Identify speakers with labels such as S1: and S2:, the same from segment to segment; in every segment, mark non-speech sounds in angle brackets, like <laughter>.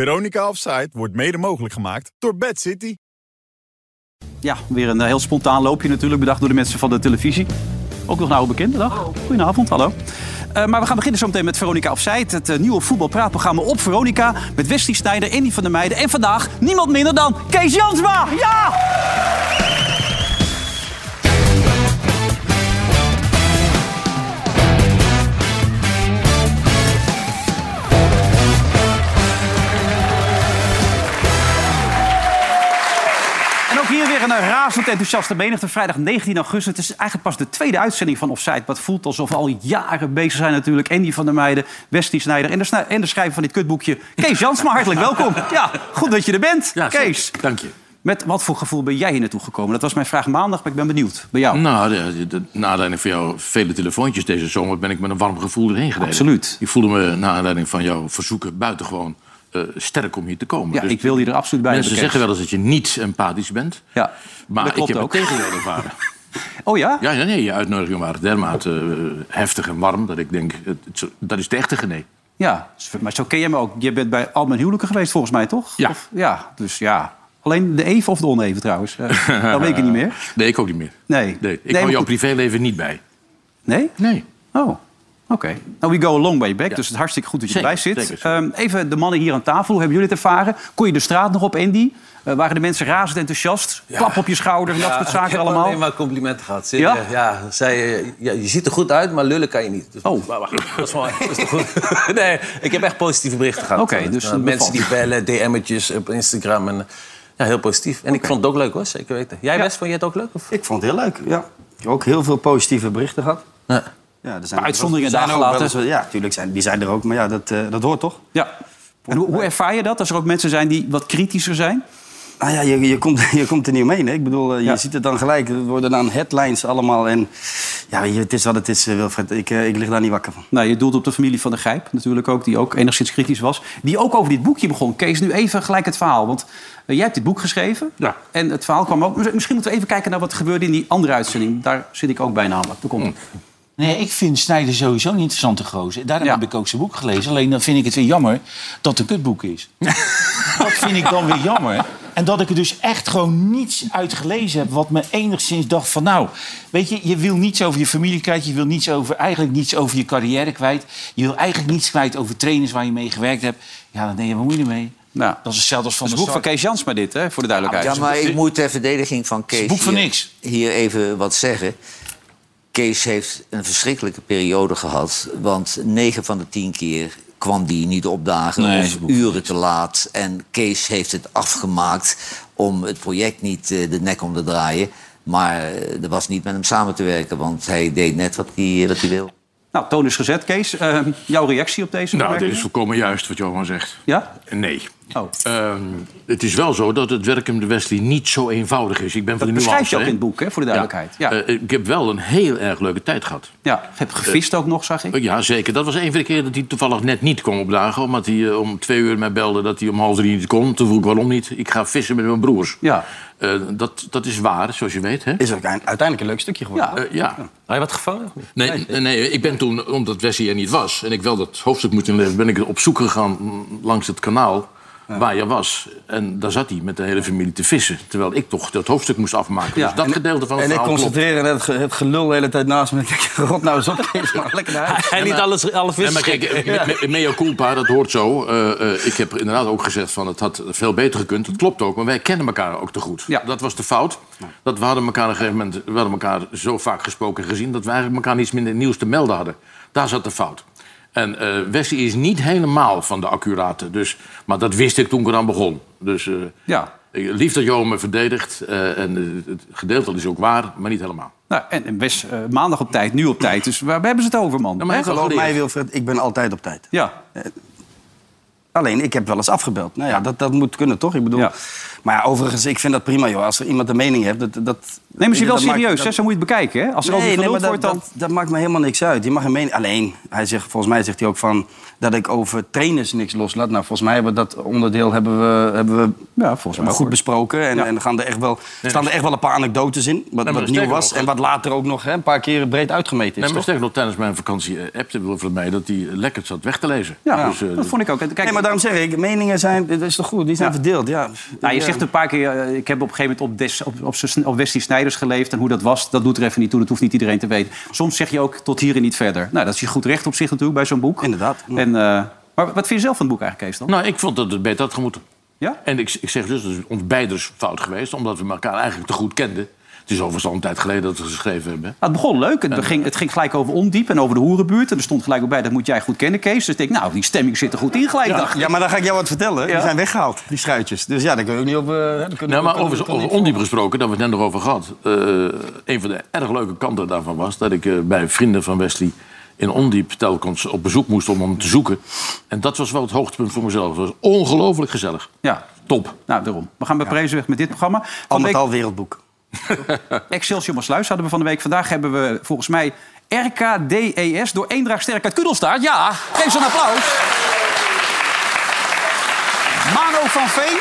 S1: Veronica Offside wordt mede mogelijk gemaakt door Bad City.
S2: Ja, weer een eh, heel spontaan loopje natuurlijk, bedacht door de mensen van de televisie. Ook nog een oude bekende, dag. Goedenavond, hallo. Eh, maar we gaan beginnen zo meteen met Veronica Offside, het eh, nieuwe voetbalpraatprogramma op Veronica. Met Wesley Snijder, Andy van der Meijden en vandaag niemand minder dan Kees Jansma! Ja! En ook hier weer een eh, razend enthousiaste menigte. Vrijdag 19 augustus. Het is eigenlijk pas de tweede uitzending van Offside. Wat voelt alsof we al jaren bezig zijn natuurlijk. Andy van der Meijden, Westie Snijder en de, snij- en de schrijver van dit kutboekje. Kees Jansma, hartelijk welkom. Ja, goed dat je er bent.
S3: Ja,
S2: Kees,
S3: zeker. Dank je.
S2: met wat voor gevoel ben jij hier naartoe gekomen? Dat was mijn vraag maandag, maar ik ben benieuwd. Bij jou.
S3: Nou, de, de, na aanleiding van jouw vele telefoontjes deze zomer... ben ik met een warm gevoel erheen gereden.
S2: Absoluut.
S3: Ik voelde me na aanleiding van jouw verzoeken buitengewoon eh, sterk om hier te komen.
S2: Ja,
S3: Dus
S2: ik wil je er absoluut bij
S3: mensen
S2: hebben,
S3: zeggen
S2: Kees.
S3: wel eens dat je niet empathisch bent.
S2: Ja, dat
S3: Maar ik
S2: klopt
S3: heb
S2: ook.
S3: het tegendeel ervaren.
S2: Oh ja?
S3: Ja, ja, nee, je uitnodigingen waren dermate eh, heftig en warm... dat ik denk, het- het zo- dat is de echte genee.
S2: Ja, maar zo ken je me ook. Je bent bij al mijn huwelijken geweest volgens mij, toch?
S3: Ja.
S2: Of- ja, dus ja. Alleen de even of de oneven trouwens. Eh,
S3: <laughs>
S2: dat weet ik niet meer.
S3: Nee, ik ook niet meer.
S2: Nee.
S3: nee ik
S2: maar
S3: hou jouw
S2: goed.
S3: privéleven niet bij.
S2: Nee?
S3: Nee.
S2: Oh, oké. Nou, we go along by your back, dus het is hartstikke goed dat je
S3: Zeker,
S2: erbij zit.
S3: zeker, zeker.
S2: Ehm, even de mannen hier aan tafel, hoe hebben jullie het ervaren? Kon je de straat nog op, Andy? Eh, waren de mensen razend enthousiast? Klap op je schouder en dat soort
S4: <laughs> ik
S2: zaken
S4: heb
S2: allemaal?
S4: alleen maar complimenten gehad. Ze- ja? zei, eh, ja, je ziet er goed uit, maar lullen kan je niet. Dus,
S2: Oh.
S4: Maar wacht, dat is wel dat is toch goed. <laughs> nee, ik heb echt positieve berichten gehad.
S2: Oké,
S4: Eh,
S2: dus
S4: eh,
S2: dat
S4: mensen die
S2: bevalt.
S4: bellen, DM'tjes op Instagram. En, eh, ja, heel positief. En ik vond het ook leuk, hoor. Zeker weten. Jij, Wes, vond je het ook leuk? Of?
S5: Ik vond het heel leuk, ja. Ik heb ook heel veel positieve berichten gehad.
S4: Nee.
S5: Ja, er zijn
S2: uitzonderingen
S5: er zijn
S2: daar
S5: ook wel
S2: gelaten.
S5: eens- Ja, natuurlijk, zijn, die zijn er ook, maar ja, dat, eh, dat hoort toch?
S2: Ja. En hoe, hoe ervaar je dat, als er ook mensen zijn die wat kritischer zijn?
S5: Nou ja, je, je, komt, <laughs> je komt er niet omheen. Hè? Ik bedoel, eh, je
S2: Ja.
S5: ziet het dan gelijk. Er worden dan headlines allemaal. En ja, weet je, het is wat het is, eh, Wilfred. Ik, eh, ik lig daar niet wakker van.
S2: Nou, je doelt op de familie van de Gijp natuurlijk ook, die ook enigszins kritisch was. Die ook over dit boekje begon. Kees, nu even gelijk het verhaal. Want eh, jij hebt dit boek geschreven.
S3: Ja.
S2: En het verhaal kwam ook. Misschien moeten we even kijken naar wat gebeurde in die andere uitzending. Daar zit ik ook bij namelijk.
S3: Hmm.
S2: Daar komt het.
S6: Nee, ik vind Snijder sowieso een interessante gozer. Daarom
S2: Ja.
S6: heb ik ook zijn boek gelezen. Alleen dan vind ik het weer jammer dat het een kutboek
S2: <laughs>
S6: is. dat vind ik dan weer jammer. En dat ik er dus echt gewoon niets uit gelezen heb... wat me enigszins dacht van nou... weet je, je wil niets over je familie kwijt. Je wil niets over, eigenlijk niets over je carrière kwijt. Je wil eigenlijk niets kwijt over trainers waar je mee gewerkt hebt. Ja, dan denk je, wat moet je ermee?
S2: Nou,
S6: Dat is hetzelfde als van
S2: Het
S6: de
S2: boek van
S6: Sar-
S2: Kees Jans maar dit, hè, voor de duidelijkheid.
S7: Ja, maar ik moet ter verdediging van Kees
S6: Het boek van
S7: hier,
S6: niks.
S7: hier even wat zeggen. Kees heeft een verschrikkelijke periode gehad. Want 9 van de 10 keer kwam die niet opdagen
S6: Nee,
S7: of
S6: het boek
S7: uren te laat. En Kees heeft het afgemaakt om het project niet eh, de nek om te draaien. Maar eh, er was niet met hem samen te werken, want hij deed net wat hij, eh, wat hij wil.
S2: Nou, toon is gezet, Kees. Ehm, jouw reactie op deze
S3: Nou, dit
S2: opmerking?
S3: is volkomen juist wat Johan zegt.
S2: Ja?
S3: Nee.
S2: Oh.
S3: Ehm, het is wel zo dat het werk in de Wesley niet zo eenvoudig is. Ik ben van
S2: Dat
S3: de nuance.
S2: beschrijf je ook
S3: hè?
S2: in het boek, hè, voor de duidelijkheid. Ja, ja.
S3: Eh, ik heb wel een heel erg leuke tijd gehad.
S2: heb gevist ook nog, zag ik.
S3: Eh, Ja, zeker. Dat was een van de keren dat hij toevallig net niet kwam opdagen. Omdat hij eh, om twee uur mij belde dat hij om half drie niet kon. Toen vroeg ik waarom niet. Ik ga vissen met mijn broers.
S2: Ja.
S3: Eh, dat, dat is waar, zoals je weet. Hè?
S5: Is ook eind- uiteindelijk een leuk stukje geworden.
S2: Ja.
S3: Eh, ja.
S4: Had je wat gevangen? of niet?
S3: Nee, nee, nee, ik ben toen, omdat Wessie er niet was... en ik wel dat hoofdstuk moest inleven... ben ik op zoek gegaan mm, langs het kanaal waar je was. En daar zat hij met de hele familie te vissen. Terwijl ik toch dat hoofdstuk moest afmaken.
S2: Ja,
S3: dus dat
S2: en-
S3: gedeelte van het
S5: En ik
S3: verhaal klopt.
S5: concentreer en het, ge- het gelul de hele tijd naast me. <laughs> Ik denk, god nou eens op, Kees, maar lekker naar huis.
S4: Hij liet alles, alle
S3: Nee,
S4: vissen
S3: maar kijk, eh, me- me- mea culpa, dat hoort zo. Eh, eh, ik heb inderdaad ook gezegd van het had veel beter gekund. Dat klopt ook, maar wij kennen elkaar ook te goed.
S2: Ja.
S3: Dat was de fout. Dat we hadden elkaar op een gegeven moment we hadden elkaar zo vaak gesproken en gezien... dat we eigenlijk elkaar niets minder nieuws te melden hadden. Daar zat de fout. En eh Wesley is niet helemaal van de accurate. Dus, maar dat wist ik toen ik eraan begon. Dus eh,
S2: Ja.
S3: ik- lief dat Johan me verdedigt. eh, en eh, het gedeelte is ook waar, maar niet helemaal.
S2: Nou, en, en best eh, maandag op tijd, nu op tijd. Dus waar, waar hebben ze het over, man?
S3: Ja, maar
S2: Hè?
S3: ik heb
S5: Geloof mij,
S3: geleerd.
S5: Wilfred, ik ben altijd op tijd.
S2: Ja.
S5: Alleen, ik heb wel eens afgebeld. Nou ja, dat, dat moet kunnen, toch? Ik bedoel,
S2: Ja.
S5: Maar ja, overigens, ik vind dat prima, joh. Als er iemand een mening heeft, dat... dat
S2: Neem ze je wel
S5: dat maakt-
S2: serieus,
S5: dat-
S2: hè? Zo moet je het bekijken, hè? Als er over
S5: nee, nee,
S2: geluld
S5: maar dat,
S2: wordt, dan...
S5: dat, dat maakt me helemaal niks uit. Je mag een mening... Alleen, hij zegt, volgens mij zegt hij ook van... dat ik over trainers niks loslaat. Nou, volgens mij hebben we dat onderdeel hebben we, hebben we
S2: Ja, volgens mij
S5: goed
S2: ook.
S5: besproken. En, en gaan er echt wel, staan er echt wel een paar anekdotes in. Wat,
S3: maar
S5: wat nieuw
S3: sterker
S5: was.
S3: nog,
S5: en wat later ook nog hè, een paar keren breed uitgemeten is.
S3: Nee, maar
S5: toch?
S3: sterker nog, tijdens mijn vakantie eh, appte Wilfred mij dat hij eh, lekker zat weg te lezen.
S2: Ja,
S3: Dus, eh,
S2: dat vond ik ook. Kijk,
S5: Nee, maar daarom zeg ik, meningen zijn, dat is toch goed, die zijn verdeeld. Ja.
S2: Nou, je zegt een paar keer, eh, ik heb op een gegeven moment op, Des, op, op, z'n- op Wesley Snijders geleefd. En hoe dat was, dat doet er even niet toe. Dat hoeft niet iedereen te weten. Soms zeg je ook tot hier en niet verder. Nou, dat is je goed recht op zich natuurlijk bij zo'n boek.
S5: Inderdaad.
S2: En, eh, maar wat vind je zelf van het boek eigenlijk, Kees, dan?
S3: Nou, ik vond dat het beter had gemoeten.
S2: Ja?
S3: En ik, ik zeg dus, dat is ons beiders fout geweest... omdat we elkaar eigenlijk te goed kenden. Het is overigens al een tijd geleden dat we geschreven hebben.
S2: Nou, het begon leuk. Het, ging, het ging gelijk over Ondiep en over de hoerenbuurt. En er stond gelijk ook bij, dat moet jij goed kennen, Kees. Dus ik denk, nou, die stemming zit er goed in gelijk. dacht ik.
S5: Ja, maar dan ga ik jou wat vertellen.
S2: Ja.
S5: Die zijn weggehaald, die schuitjes. Dus ja, daar kun je ook niet op... eh, hè, daar kun je
S3: Nou,
S5: ook-
S3: maar
S5: kunnen-
S3: over,
S5: kunnen-
S3: over ondiep gesproken, daar hebben we het net nog over gehad. Eh, een van de erg leuke kanten daarvan was dat ik eh, bij vrienden van Wesley in ondiep telkens op bezoek moest om hem te zoeken. En dat was wel het hoogtepunt voor mezelf. Het was ongelooflijk gezellig.
S2: Ja.
S3: Top.
S2: Nou, daarom. We gaan bij Prezen weg met dit programma. Van de week
S5: Andertal wereldboek.
S2: Excelsior Maasluis hadden we van de week. Vandaag hebben we volgens mij RKDES E door Eendraag Sterk uit Kudelstaart. Ja, geef ze een applaus. Mano van Veen.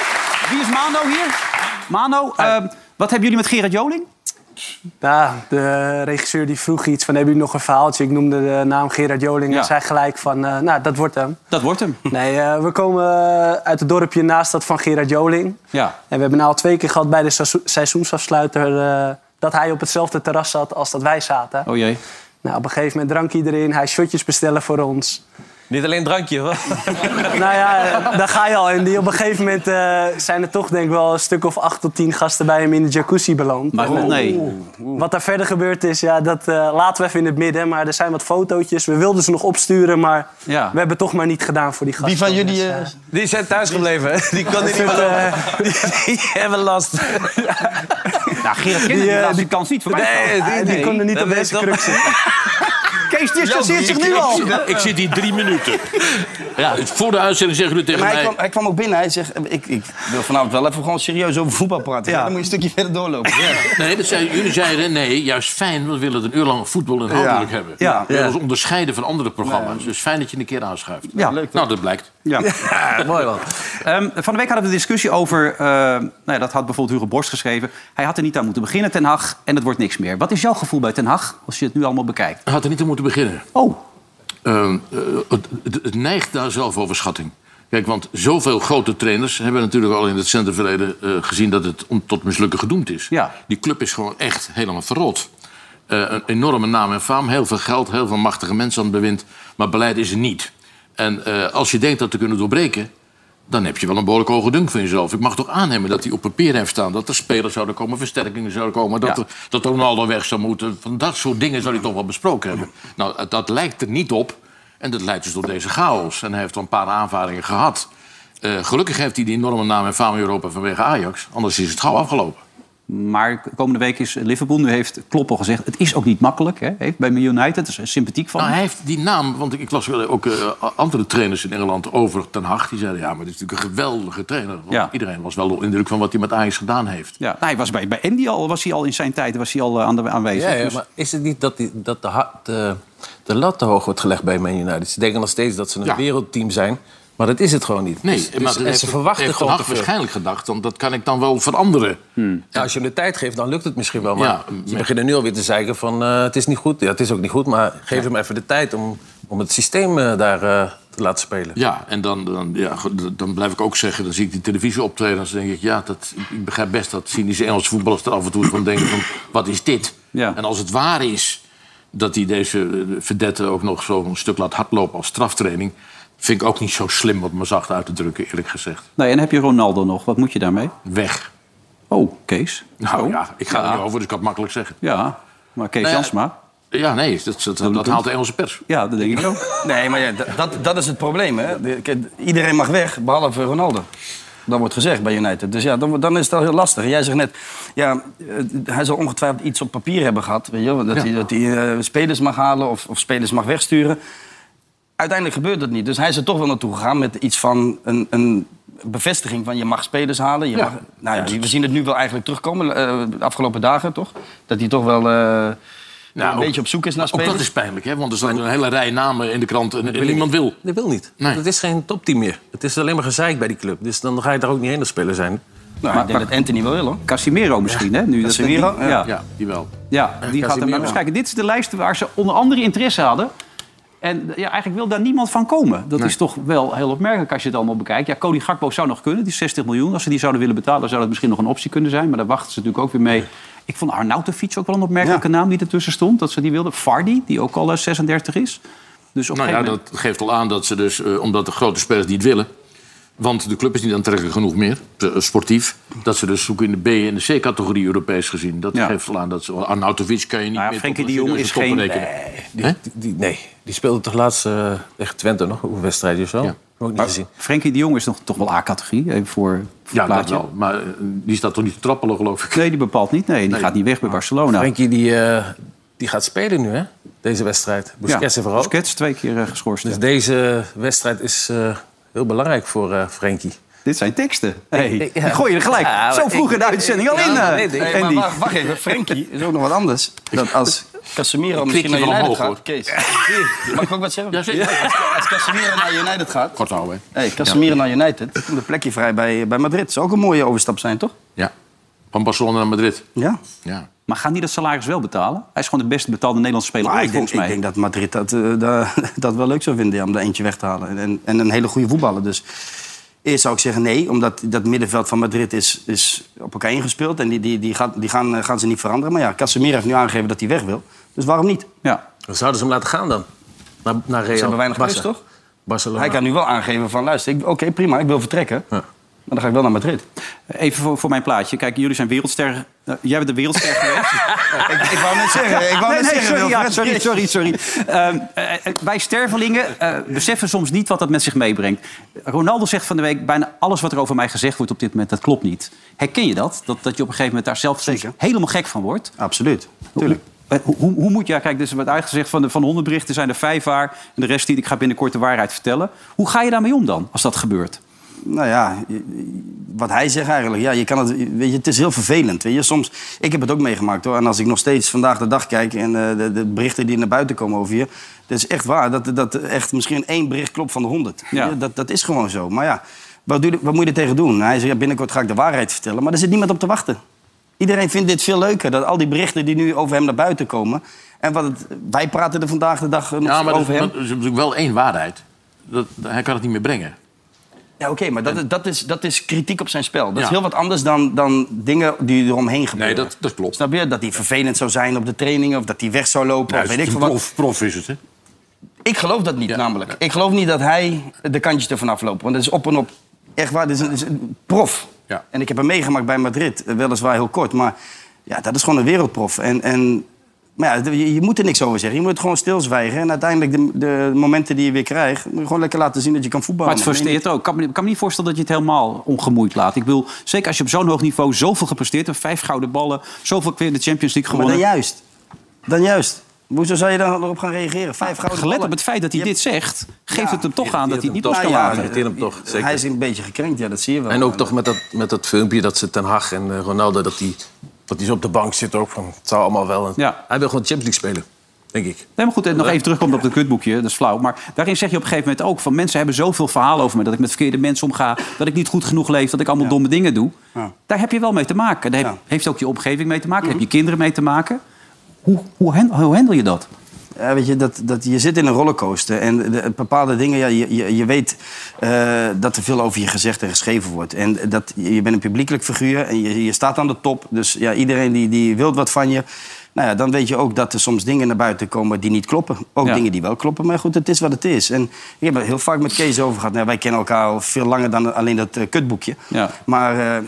S2: Wie is Mano hier? Mano, ehm, wat hebben jullie met Gerard Joling?
S8: Nou, de regisseur die vroeg iets van, hebben jullie nog een verhaaltje? Ik noemde de naam Gerard Joling
S2: Ja.
S8: en zei gelijk van, eh, nou, dat wordt hem.
S2: Dat wordt hem.
S8: Nee, eh, we komen eh, uit het dorpje naast dat van Gerard Joling.
S2: Ja.
S8: En we hebben nou al twee keer gehad bij de seizo- seizoensafsluiter... eh, dat hij op hetzelfde terras zat als dat wij zaten.
S2: Oh jee.
S8: Nou, op een gegeven moment drank iedereen, hij shotjes bestellen voor ons. <laughs>
S4: Niet alleen drankje, hoor.
S8: Nou ja, daar ga je al. En die op een gegeven moment eh, zijn er toch denk ik wel een stuk of acht tot tien gasten bij hem in de jacuzzi beland. Oh.
S2: Maar nee.
S8: Wat daar verder gebeurd is, ja, dat eh, laten we even in het midden. Maar er zijn wat fotootjes. We wilden ze nog opsturen, maar
S2: Ja.
S8: we hebben het toch maar niet gedaan voor die gasten.
S5: Wie van jullie...
S8: Dus,
S5: eh,
S8: eh,
S4: Die zijn thuis gebleven, hè? Die kan niet
S8: ik vind,
S4: meer
S8: eh,
S4: <laughs> Die hebben last.
S2: Nou, Gerard kende die,
S8: eh,
S2: laatste
S8: die-
S2: kans niet. Voorbij
S4: Nee,
S2: komen.
S8: die
S4: Ah, nee.
S8: konden niet
S4: Dat
S8: op
S4: weet
S8: deze
S4: ik wel.
S8: kruk zitten.
S2: <laughs> Kees distanceert zich
S3: Ik-
S2: nu
S3: ik-
S2: al.
S3: Ik, ik zit hier drie minuten. Ja, voor de uitzending zeggen jullie tegen
S5: Maar hij
S3: mij...
S5: kwam, hij kwam ook binnen. Hij zegt, ik, ik wil vanavond wel even gewoon serieus over voetbal praten. Ja. Dan moet je een stukje verder doorlopen.
S3: Nee, dat zei, jullie zeiden nee, juist fijn, we willen een uur lang voetbal inhoudelijk hebben.
S5: Ja.
S3: We willen
S5: Ja.
S3: ons onderscheiden van andere programma's. Dus fijn dat je een keer aanschuift.
S2: Ja. Leuk,
S3: nou, dat blijkt.
S2: Ja.
S4: Mooi man.
S2: Ehm, van de week hadden we de discussie over... eh, nou ja, dat had bijvoorbeeld Hugo Borst geschreven. Hij had er niet aan moeten beginnen, Ten Hag. En het wordt niks meer. Wat is jouw gevoel bij Ten Hag, als je het nu allemaal bekijkt?
S3: Had er niet aan moeten beginnen.
S2: Oh,
S3: Eh, eh, het, het- het neigt naar zelfoverschatting. Kijk, want zoveel grote trainers hebben natuurlijk al in het recente verleden eh, gezien dat het om, tot mislukken gedoemd is.
S2: Ja.
S3: Die club is gewoon echt helemaal verrot. Eh, een enorme naam en faam, heel veel geld, heel veel machtige mensen aan het bewind. Maar beleid is er niet. En eh, als je denkt dat te kunnen doorbreken, dan heb je wel een behoorlijk hoge dunk van jezelf. Ik mag toch aannemen dat hij op papier heeft staan... dat er spelers zouden komen, versterkingen zouden komen... dat,
S2: Ja.
S3: er, dat Ronaldo weg zou moeten. Van dat soort dingen zou hij toch wel besproken hebben. Nou, het- dat lijkt er niet op. En dat leidt dus tot deze chaos. En hij heeft al een paar aanvaringen gehad. Eh, gelukkig heeft hij die enorme naam en faam in Europa vanwege Ajax. Anders is het gauw afgelopen.
S2: Maar komende week is Liverpool. Nu heeft Klopp al gezegd, het is ook niet makkelijk. Hè? Heeft Bij Man United, dat is sympathiek van.
S3: Nou,
S2: hem.
S3: hij heeft die naam, want ik, ik las wel ook eh, andere trainers in Engeland over Ten Hag. Die zeiden, ja, maar dit is natuurlijk een geweldige trainer. Want
S2: Ja.
S3: Iedereen was wel onder de indruk van wat hij met Ajax gedaan heeft.
S2: ja. nou, hij was bij, bij Andy al, was hij al in zijn tijd was hij al eh, aan de, aanwezig.
S4: Ja, ja,
S2: Dus-
S4: maar is het niet dat, die, dat de, ha- de, de lat te hoog wordt gelegd bij Man United? Ze denken nog steeds dat ze een
S3: Ja.
S4: wereldteam zijn, maar dat is het gewoon niet.
S3: Nee,
S4: Dus- dus-
S3: maar
S4: en ze verwachten
S3: heeft
S4: gewoon
S3: Ten Hag
S4: te veel.
S3: waarschijnlijk gedacht, want dat kan ik dan wel veranderen.
S4: Ja, als je hem de tijd geeft, dan lukt het misschien wel. Maar
S3: Ja,
S4: ze
S3: met-
S4: beginnen nu alweer te zeiken van eh, het is niet goed. Ja, het is ook niet goed, maar geef hem even de tijd om, om het systeem eh, daar eh, te laten spelen.
S3: Ja, en dan, dan, ja, goed, dan blijf ik ook zeggen, dan zie ik die televisie optreden... en dan denk ik, ja, dat, ik begrijp best dat cynische Engelse voetballers er af en toe van denken van... wat is dit?
S2: Ja.
S3: En als het waar is dat hij deze eh, vedette ook nog zo'n stuk laat hardlopen als straftraining... vind ik ook niet zo slim wat me zacht uit te drukken, eerlijk gezegd.
S2: Nee, en heb je Ronaldo nog? Wat moet je daarmee?
S3: Weg.
S2: Oh, Kees.
S3: Nou
S2: Oh.
S3: ja, ik ga er niet over, dus ik kan het makkelijk zeggen.
S2: Ja, maar Kees
S3: Nou ja,
S2: Jansma.
S3: Ja, nee, dat, dat, dat, haalt de Engelse pers.
S2: Ja, dat denk ik ook.
S5: Nee, maar ja, dat- dat, dat is het probleem. Hè? De- kijk, Iedereen mag weg, behalve Ronaldo. Dat wordt gezegd bij United. Dus ja, dan, dan is het al heel lastig. En Jij zegt net, ja, eh, hij zal ongetwijfeld iets op papier hebben gehad. Weet je, wel, dat hij, dat hij eh, spelers mag halen of, of spelers mag wegsturen. Uiteindelijk gebeurt dat niet. Dus hij is er toch wel naartoe gegaan met iets van een, een bevestiging van je mag spelers halen. Je
S3: Ja.
S5: mag, nou ja, we zien het nu wel eigenlijk terugkomen eh, de afgelopen dagen, toch? Dat hij toch wel eh, een
S3: ook-
S5: beetje op zoek is naar
S3: Nou, Ook
S5: spelers.
S3: Oh, dat is pijnlijk, hè? want er staat een hele rij namen in de krant en, en niemand wil.
S4: Dat wil niet.
S3: Nee.
S4: Het is geen topteam meer. Het is alleen maar gezeik bij die club. Dus dan ga je daar ook niet heen als speler zijn.
S5: Nou, ik denk dat Anthony wel wil, hoor.
S2: Casimiro misschien, hè? Nu dat-
S5: Casemiro,
S2: die-
S5: ja.
S2: ja.
S3: Ja, die wel.
S2: Ja, die gaat hem
S4: Casemiro.
S2: naar eens kijken. Dit is de lijst waar ze onder andere interesse hadden. En ja, eigenlijk wil daar niemand van komen. Dat is toch wel heel opmerkelijk als je het allemaal bekijkt. Ja, Cody Gakpo zou nog kunnen, die 60 miljoen. Als ze die zouden willen betalen, zou dat misschien nog een optie kunnen zijn. Maar daar wachten ze natuurlijk ook weer mee. Ik vond Arnautovic ook wel een opmerkelijke naam die ertussen stond. Dat ze die wilden. Vardy, die ook al eh, 36 is. Dus op een
S3: Nou ja,
S2: gegeven moment...
S3: dat geeft al aan dat ze dus, eh, omdat de grote spelers niet willen... want de club is niet aantrekkelijk genoeg meer, te- eh, sportief... dat ze dus zoeken in de B- en de C-categorie Europees gezien. Dat
S2: Ja.
S3: geeft al aan dat ze... oh, Arnautovic kan je niet
S2: Nou ja,
S3: meer
S2: Frenkie
S3: tot een
S2: de Jong
S3: serieuze
S2: is geen-
S3: topper rekenen.
S5: eh,
S4: Die, die, die- nee, die speelde toch laatst eh, tegen Twente nog? Een wedstrijd of zo? Heb ik ook niet gezien.
S2: Frenkie de Jong is nog, toch wel A-categorie, even voor, voor
S3: Ja,
S2: het
S3: dat
S2: plaatje.
S3: wel. Maar eh, die staat toch niet te trappelen, geloof ik.
S2: Nee, die bepaalt niet. Nee, die gaat niet weg bij
S3: Ah,
S2: Barcelona.
S4: Frenkie, die, eh, die gaat spelen nu, hè? Deze wedstrijd. Busquets
S2: ja,
S4: er vooral.
S2: Busquets twee keer eh, geschorst.
S4: Dus deze wedstrijd is eh, heel belangrijk voor eh Frenkie.
S2: Dit zijn teksten. Hey,
S4: ik- ja.
S2: die gooi je er gelijk
S4: Ja,
S2: zo
S4: maar
S2: vroeg
S4: ik-
S2: in de uitzending al
S4: Ja,
S2: in. eh,
S5: Ah,
S4: nee, nee,
S5: Hey, maar
S2: Andy.
S5: wacht, wacht even, Frenkie is ook nog wat anders. Dat als Casemiro misschien
S3: je
S5: naar
S3: van
S5: United
S3: omhoog,
S5: gaat...
S3: hoor.
S5: Kees, mag ik ook wat zeggen?
S3: zeker.
S5: Als- Als Casemiro naar United gaat...
S3: Kort houden, hè.
S5: Hey, Casemiro naar United, komt een plekje vrij bij, bij Madrid. Zou ook een mooie overstap zijn, toch?
S3: Ja. Van Barcelona naar Madrid.
S5: Ja.
S3: Ja.
S2: Maar gaan die dat salaris wel betalen? Hij is gewoon de best betaalde Nederlandse speler ooit,
S5: ik, denk,
S2: volgens
S5: ik
S2: mij.
S5: denk dat Madrid dat, eh, da- <laughs> dat wel leuk zou vinden ja, om daar eentje weg te halen. En, en een hele goede voetballer. Dus eerst zou ik zeggen nee, omdat dat middenveld van Madrid is, is op elkaar ingespeeld. En die, die, die, gaat, die gaan, eh, gaan ze niet veranderen. Maar ja, Casemiro heeft nu aangegeven dat hij weg wil. Dus waarom niet?
S2: Ja.
S4: Dan zouden ze hem laten gaan dan. Naar, naar Real.
S5: Ze hebben weinig
S4: Barca.
S5: plus, toch?
S4: Barcelona.
S5: Hij kan nu wel aangeven van, luister, ik- oké, prima, ik wil vertrekken. Maar dan ga ik wel naar Madrid.
S2: Even voor, voor mijn plaatje. Kijk, jullie zijn wereldster. eh, jij bent de wereldster <laughs> geweest.
S5: ik, ik wou net zeggen, ik wou
S2: nee,
S5: net
S2: nee,
S5: zeggen,
S2: sorry, ja,
S5: Wilfred.
S2: sorry, sorry, sorry. Ehm, eh, eh, wij stervelingen eh, beseffen soms niet wat dat met zich meebrengt. Ronaldo zegt van de week... bijna alles wat er over mij gezegd wordt op dit moment, dat klopt niet. Herken je dat? Dat, dat je op een gegeven moment daar zelf soms
S5: Zeker.
S2: helemaal gek van wordt?
S5: Absoluut, tuurlijk.
S2: Hoe, eh, hoe, hoe moet jij, kijk, dus er wordt uitgezegd van de van de 100 berichten zijn er vijf waar en de rest niet. Ik ga binnenkort de waarheid vertellen. Hoe ga je daarmee om dan als dat gebeurt?
S5: Nou ja, je- je- wat hij zegt eigenlijk. Ja, je kan het, weet je, het is heel vervelend. Weet je. Soms, ik heb het ook meegemaakt hoor. En als ik nog steeds vandaag de dag kijk en eh, de, de berichten die naar buiten komen over je. Het is echt waar dat, dat echt misschien één bericht klopt van de honderd.
S2: Ja.
S5: Dat, dat is gewoon zo. Maar ja, wat, doe je- wat moet je er tegen doen? Hij zegt ja, binnenkort ga ik de waarheid vertellen. Maar er zit niemand op te wachten. Iedereen vindt dit veel leuker. Dat al die berichten die nu over hem naar buiten komen. En wat het, wij praten er vandaag de dag eh, nog
S3: Ja, maar dat,
S5: over hem.
S3: dat is natuurlijk wel één waarheid. Dat, hij kan het niet meer brengen.
S5: Ja, oké, maar dat, dat, is, dat is kritiek op zijn spel. Dat is
S3: Ja.
S5: heel wat anders dan, dan dingen die eromheen gebeuren.
S3: dat klopt.
S5: Snap je? Dat hij vervelend zou zijn op de trainingen... of dat hij weg zou lopen, of weet ik veel wat.
S3: prof, prof Nou, is het, hè?
S5: Ik geloof dat niet, namelijk. Ik geloof niet dat hij de kantjes ervan afloopt. Want dat is op en op. Echt waar, dit is een, dit is een prof.
S3: Ja.
S5: En ik heb hem meegemaakt bij Madrid, eh, weliswaar heel kort. Maar ja, dat is gewoon een wereldprof. En, en, maar ja, je, je moet er niks over zeggen. Je moet het gewoon stilzwijgen. En uiteindelijk, de, de momenten die je weer krijgt... moet je gewoon lekker laten zien dat je kan voetballen.
S2: Maar het frustreert ook. Ik kan, me- ik kan me niet voorstellen dat je het helemaal ongemoeid laat. Ik wil, zeker als je op zo'n hoog niveau zoveel gepresteerd hebt... vijf gouden ballen, zoveel keer de Champions League
S5: Maar dan
S2: gewonnen...
S5: juist. Dan juist. Hoezo zou je dan erop gaan reageren? Vijf gouden
S2: Gelet op
S5: ballen.
S2: het feit dat hij
S5: Je
S2: dit zegt, geeft
S5: Ja,
S2: het hem toch aan dat hij het niet
S5: hem
S2: los kan
S5: toch. Ja,
S2: laten.
S5: ja.
S4: Irriteert hem toch, zeker.
S5: Hij is een beetje gekrenkt, ja, dat zie je wel.
S4: En ook toch met dat, met dat filmpje dat ze Ten Hag en eh, Ronaldo... dat die, dat die zo op de bank zitten ook. Van, het zou allemaal wel... een-
S2: Ja.
S4: Hij wil gewoon Champions League spelen, denk ik.
S2: Nee, maar goed, en nog even terugkomt op dat kutboekje, dat is flauw. Maar daarin zeg je op een gegeven moment ook van... mensen hebben zoveel verhalen over me, dat ik met verkeerde mensen omga... dat ik niet goed genoeg leef, dat ik allemaal domme dingen doe.
S5: Ja.
S2: Daar heb je wel mee te maken. Daar heb-
S5: Ja. Mhm.
S2: heeft ook je omgeving mee te maken, heb je kinderen mee te maken. Hoe, hoe, hen- hoe handel je dat? <laughs>
S5: Ja, weet je, dat, dat, je zit in een rollercoaster. En de- de- bepaalde dingen, ja, je, je, je weet eh, dat er veel over je gezegd en geschreven wordt. En dat, je bent een publiekelijk figuur en je, je staat aan de top. Dus ja, iedereen die, die wil wat van je. Nou ja, dan weet je ook dat er soms dingen naar buiten komen die niet kloppen. Ook
S2: Ja.
S5: dingen die wel kloppen, maar goed, het is wat het is. En ik heb er heel vaak met Kees over gehad. Nou, wij kennen elkaar al veel langer dan alleen dat eh, kutboekje.
S2: Ja.
S5: Maar eh,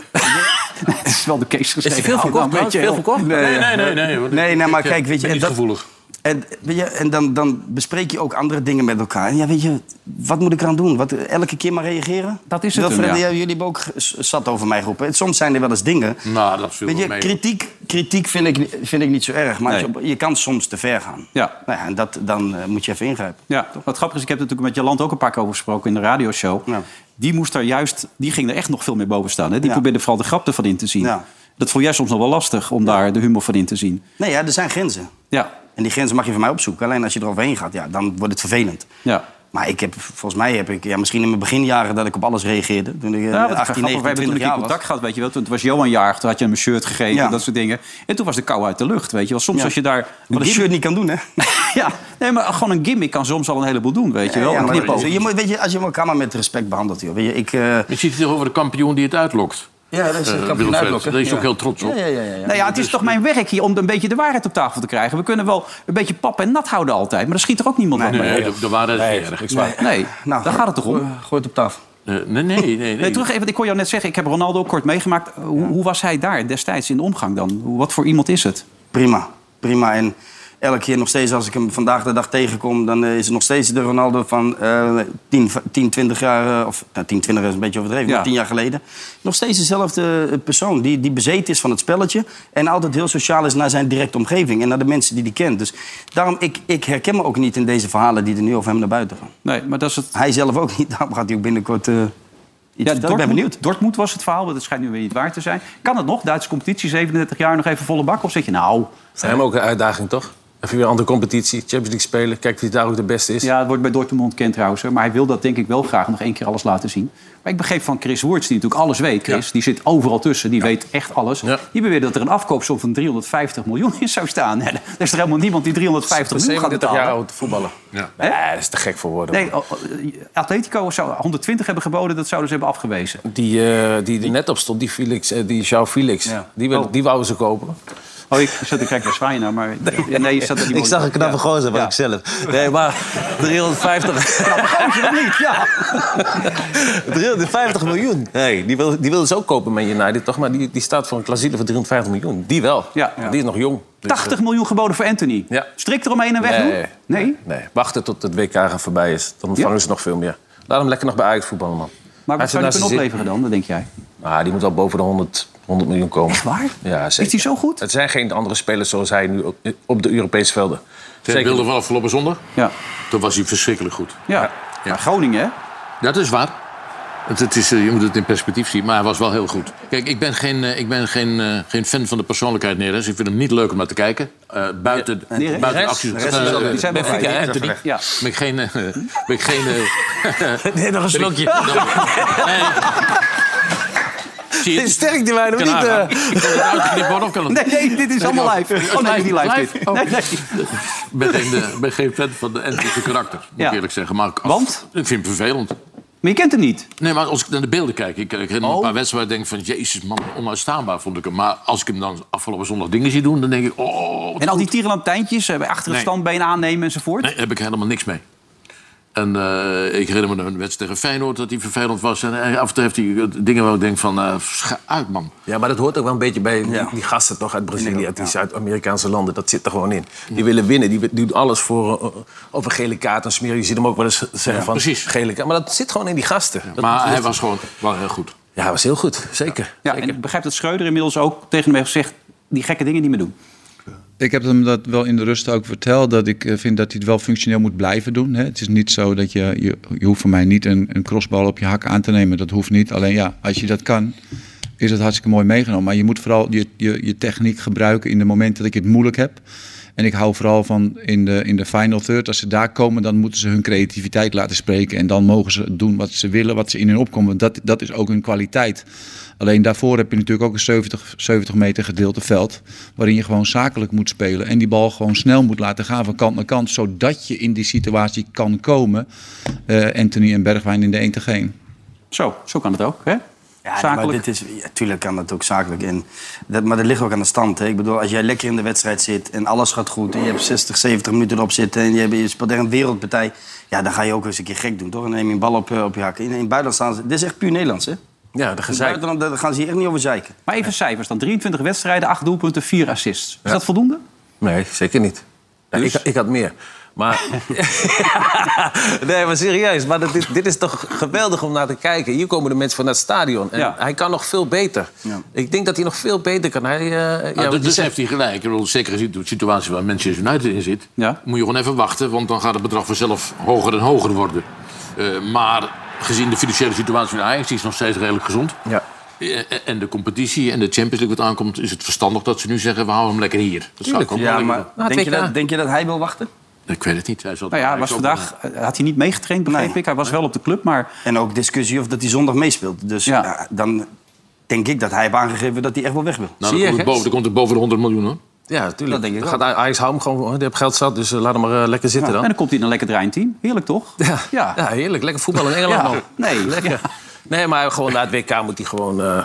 S2: Het is wel de case geschreven.
S5: nou,
S4: Veel verkocht?
S3: Nee, nee, nee. Nee, hoor.
S5: Nee, nee, maar kijk, weet je,
S3: Ik ben
S5: en
S3: niet
S5: dat-
S3: gevoelig.
S5: En, weet je, en dan, dan bespreek je ook andere dingen met elkaar. En ja, weet je, wat moet ik eraan doen? Wat, elke keer maar reageren?
S2: Dat is het
S5: Wilfred,
S2: hem, ja.
S5: jij- jullie hebben ook s- zat over mij geroepen. En Soms zijn er wel eens dingen.
S3: Nou, dat viel
S5: Weet
S3: wel
S5: je,
S3: mee. hoor.
S5: kritiek, kritiek vind, ik, ni- vind ik niet zo erg. Maar
S2: Nee.
S5: als je, op- je kan soms te ver gaan.
S2: Ja.
S5: Nou ja, en dat, dan eh, moet je even ingrijpen.
S2: Ja, wat grappig is, ik heb er natuurlijk met Jaland ook een paar keer over gesproken in de radioshow.
S5: Ja.
S2: Die moest daar juist, die ging er echt nog veel meer boven staan. Hè? Die
S5: Ja.
S2: probeerde vooral de grap ervan in te zien.
S5: Ja.
S2: Dat vond jij soms nog wel lastig om daar de humor van in te zien.
S5: Nee, ja, er zijn grenzen.
S2: Ja,
S5: En die grenzen mag je van mij opzoeken. Alleen als je eroverheen gaat, ja, dan wordt het vervelend.
S2: ja.
S5: Maar ik heb, volgens mij heb ik, ja, misschien in mijn beginjaren dat ik op alles reageerde. Toen ik
S2: Ja,
S5: eh,
S2: wat
S5: 18,
S2: grappig. We
S5: 19,
S2: hebben toen
S5: 20
S2: een keer
S5: jaar was.
S2: contact gehad, weet je wel. Toen het was Johan jarig, toen had je hem een shirt gegeven,
S5: Ja.
S2: dat soort dingen. En toen was de kou uit de lucht, weet je wel. Soms
S5: Ja.
S2: als je daar...
S5: Wat een
S2: gimmick-
S5: shirt niet kan doen, hè?
S2: <laughs> ja, nee, maar gewoon een gimmick kan soms al een heleboel doen, weet je wel.
S5: Ja,
S2: een
S5: maar
S2: knipoog.
S5: je moet, weet je, als je elkaar maar met respect behandelt, joh. Weet je, ik, eh,
S3: Je ziet het hier over de kampioen die het uitlokt.
S5: ja, dat is
S3: Eh,
S5: een kampioen
S3: Wilfred,
S5: uitlokken.
S3: Daar is hij
S5: Ja.
S3: ook heel trots op.
S5: Ja, ja, ja, ja.
S2: Nou ja, het is toch mijn werk hier om een beetje de waarheid op tafel te krijgen. We kunnen wel een beetje pap en nat houden altijd, maar dan schiet er ook niemand wat mee.
S3: Nee, de, de waarheid
S4: Nee,
S3: is niet erg.
S4: ik zwaar.
S2: Nee,
S5: <laughs> Nou,
S2: daar gaat het toch om.
S5: Gooi- Gooi het op tafel.
S3: Eh, nee, nee, nee. nee.
S2: Nee, terug even, want ik kon jou net zeggen, ik heb Ronaldo ook kort meegemaakt. Hoe, hoe was hij daar destijds in de omgang dan? Hoe- Wat voor iemand is het?
S5: Prima, prima. En elke keer nog steeds, als ik hem vandaag de dag tegenkom... dan eh, is het nog steeds de Ronaldo van eh 10, 10, 20 jaar... eh, of nou, 10, 20 is een beetje overdreven,
S2: Ja.
S5: maar 10 jaar geleden. Nog steeds dezelfde eh, persoon die, die bezeten is van het spelletje... en altijd heel sociaal is naar zijn directe omgeving... en naar de mensen die hij kent. Dus daarom, ik, ik herken me ook niet in deze verhalen... die er nu over hem naar buiten gaan.
S2: Nee, maar dat is het...
S5: Hij zelf ook niet, <laughs> daarom gaat hij ook binnenkort... eh, iets vertellen. ik ben
S2: Dortmund-
S5: benieuwd.
S2: Dortmund was het verhaal, want het schijnt nu weer niet waar te zijn. Kan het nog? Duitse competitie, 37 jaar, nog even volle bak? Of zeg je, nou,
S4: is voor hem ook een uitdaging, toch? Even weer een andere competitie, Champions League spelen. Kijk wie daar ook de beste is.
S2: ja, het wordt bij Dortmund ontkend trouwens. hè, Maar hij wil dat denk ik wel graag nog één keer alles laten zien. Maar ik begreep van Chris Woerts, die natuurlijk alles weet. Chris, die zit overal tussen, die weet echt alles.
S4: Ja.
S2: Die beweerde dat er een afkoopsom van 350 miljoen in zou staan. Nee, er is er helemaal niemand die 350 miljoen gaat
S4: 37 jaar
S2: betalen.
S4: oud voetballen.
S3: Ja.
S4: Ja, dat is te gek voor woorden.
S2: Nee, oh, oh, Atletico zou 120 hebben geboden, dat zouden ze hebben afgewezen.
S4: Die, eh, die er net op stond, die Felix, eh, die João Felix,
S5: Ja.
S4: die, wil,
S2: Oh.
S4: die wouden ze kopen.
S2: Oh, ik zat te kijken naar Zwaaien naar, maar... Nee, je zat er niet
S9: Ik zag een knappe
S2: Ja.
S9: gozer, wat
S2: Ja.
S9: ik zelf. Nee, maar
S2: <laughs>
S9: 350,
S2: Gozer of niet, ja.
S9: 350 miljoen.
S4: Nee, die wil, die wil ze ook kopen met United, toch? Maar die, die staat voor een clausule van 350 miljoen. Die wel.
S2: Ja.
S4: Die is nog jong. Dus,
S2: 80 miljoen geboden voor Anthony.
S4: Ja.
S2: Strik eromheen en weg doen?
S4: Nee. Nee, wachten tot het WK gaan voorbij is. Dan ontvangen ze nog veel meer. Laat hem lekker nog bij Ajax voetballen, man.
S2: Maar
S4: Hij
S2: wat
S4: zit
S2: zou die
S4: naast
S2: kunnen
S4: zijn zin.
S2: opleveren dan, dat denk jij?
S4: Nou, die moet wel boven de 100, 100 miljoen komen.
S2: Echt waar?
S4: Ja, zeker.
S2: Is die zo goed?
S4: Het zijn geen andere spelers zoals hij nu op, op de Europese velden.
S3: Zijn beelden van afgelopen zondag,
S2: Ja.
S3: toen was hij verschrikkelijk goed.
S2: Ja. Maar Groningen, hè?
S3: Dat is waar. Het, het is, eh, je moet het in perspectief zien, maar hij was wel heel goed. Kijk, ik ben geen, eh, ik ben geen, eh, geen fan van de persoonlijkheid Neres. Ik vind hem niet leuk om naar te kijken. Eh, buiten
S2: Neres?
S3: buiten
S4: Neres?
S3: acties.
S4: Neres
S3: Eh,
S4: is
S2: Die zijn wel
S3: Benfica,
S2: vrij.
S3: Anthony.
S2: Ja.
S3: Ben ik geen... eh, ben ik geen
S2: <laughs>
S3: eh,
S9: Nee, nog een
S3: Dan- Nee. Zie je het?
S9: Sterk die wijn, hoor.
S3: Kan
S9: Niet, eh,
S3: aangaan. Ik wil het uitknippen, maar of kan het?
S2: <laughs> Nee, nee, dit is allemaal live. Oh nee, niet live dit.
S3: Oh.
S2: Nee, nee.
S3: Ik ben geen, eh, ben geen fan van de Anthony's karakter, moet
S2: Ja.
S3: ik eerlijk zeggen. Maar ik-
S2: Want?
S3: Ik vind hem vervelend.
S2: Maar je kent hem niet.
S3: Nee, maar als ik naar de beelden kijk, ik, ik herinner me een paar wedstrijden denk van, jezus man, onuitstaanbaar vond ik hem. Maar als ik hem dan afgelopen zondag dingen zie doen, dan denk ik, oh, wat
S2: En al die tierenlantijntjes, eh, bij achter het
S3: Nee.
S2: standbeen aannemen enzovoort.
S3: Nee, daar heb ik helemaal niks mee. En eh, ik herinner me een wedstrijd tegen Feyenoord dat hij vervelend was. En eh, af en toe heeft hij eh, dingen waar ik denk van, eh scha- uit man.
S4: Ja, maar dat hoort ook wel een beetje bij die- die gasten toch uit Brazilië, uit die Zuid-Amerikaanse landen. Dat zit er gewoon in. Die willen winnen, die wi- doen alles voor eh, of een gele kaart en smeren. Je ziet hem ook wel eens zeggen van
S3: precies.
S4: gele kaart. Maar dat zit gewoon in die gasten. Dat-
S3: Maar hij
S4: dat-
S3: was gewoon wel heel goed.
S4: Ja, hij was heel goed, zeker.
S2: Ja, en ik begrijp dat Schreuder inmiddels ook tegen hem heeft gezegd... die gekke dingen niet meer doen.
S10: Ik heb hem dat wel in de rust ook verteld. Dat ik eh, vind dat hij het wel functioneel moet blijven doen. Hè. Het is niet zo dat je, je... Je hoeft van mij niet een, een crossbal op je hak aan te nemen. Dat hoeft niet. Alleen ja, als je dat kan, is het hartstikke mooi meegenomen. Maar je moet vooral je, je, je techniek gebruiken in de momenten dat ik het moeilijk heb. En ik hou vooral van in de, in de final third. Als ze daar komen, dan moeten ze hun creativiteit laten spreken. En dan mogen ze doen wat ze willen, wat ze in hun opkomen. Want Dat, dat is ook hun kwaliteit. Alleen daarvoor heb je natuurlijk ook een 70, 70 meter gedeelte veld. Waarin je gewoon zakelijk moet spelen. En die bal gewoon snel moet laten gaan van kant naar kant. Zodat je in die situatie kan komen. eh, Anthony en Bergwijn in de 1 tegen 1.
S2: Zo, zo kan het ook, hè?
S5: Ja,
S2: Zakelijk.
S5: maar dit is, ja, tuurlijk kan dat ook zakelijk. En dat, maar dat ligt ook aan de stand. Hè. Ik bedoel, als jij lekker in de wedstrijd zit en alles gaat goed... en je hebt 60, 70 minuten erop zitten en je, hebt- je speelt echt een wereldpartij... ja, dan ga je ook eens een keer gek doen, toch? En dan neem je een bal op, eh, op je hak. In, in het buitenland staan ze... Dit is echt puur Nederlands, hè? In
S4: Ja, de
S5: het
S4: gezeik.
S5: buitenland daar gaan ze hier echt niet over zeiken.
S2: Maar even cijfers dan. 23 wedstrijden, 8 doelpunten, 4 assists. Is dat voldoende? Nou
S4: Nee, zeker niet. Ja,
S3: Dus?
S4: ik, ik had meer.
S3: <laughs>
S4: Maar, nee, maar serieus. Maar dat- dit, dit is toch geweldig om naar te kijken. Hier komen de mensen van het stadion. En
S2: Ja.
S4: Hij kan nog veel beter. Ik denk dat hij nog veel beter kan. Hij, eh, ja,
S3: Nou,
S4: wat
S3: dat
S4: je
S3: dus
S4: zegt.
S3: heeft hij gelijk. Ik bedoel, zeker gezien de situatie waar Manchester United in zit...
S2: Ja.
S3: moet je gewoon even wachten, want dan gaat het bedrag vanzelf hoger en hoger worden. Eh, maar gezien de financiële situatie van Ajax, die is nog steeds redelijk gezond...
S4: Ja.
S3: Eh, en de competitie en de Champions League wat aankomt... is het verstandig dat ze nu zeggen, we houden hem lekker hier. Dat zou ik ook wel
S5: Ja,
S3: lekker
S5: maar
S3: doen.
S4: Nou,
S5: denk je,
S4: WK.
S5: dat, denk je dat hij wil wachten?
S3: Ik weet het niet. Hij zat
S2: Nou ja, hij was
S3: eigenlijk ook
S2: vandaag, had hij niet meegetraind, begreep
S5: Nee.
S2: ik. Hij was wel op de club, maar
S5: En ook discussie of dat hij zondag meespeelt. Dus
S2: Ja.
S5: ja, dan denk ik dat hij heeft aangegeven dat hij echt wel weg wil.
S3: Nou,
S4: Zie
S3: dan, komt het
S4: je, hè?
S3: boven, dan komt het boven de 100 miljoen hoor.
S4: Ja, tuurlijk.
S5: Dat denk ik
S4: Dan
S5: wel.
S4: Gaat Ajax hou hem gewoon, hoor. die heb geld zat, dus eh, laat hem maar eh, lekker zitten
S2: en
S4: dan.
S2: dan komt hij in een lekker drainteam. Heerlijk toch?
S4: Ja.
S2: Ja.
S4: Ja. heerlijk. Lekker voetbal in Engeland,
S2: Ja.
S4: man.
S2: Nee.
S4: Lekker. Nee, maar gewoon na het WK moet hij gewoon eh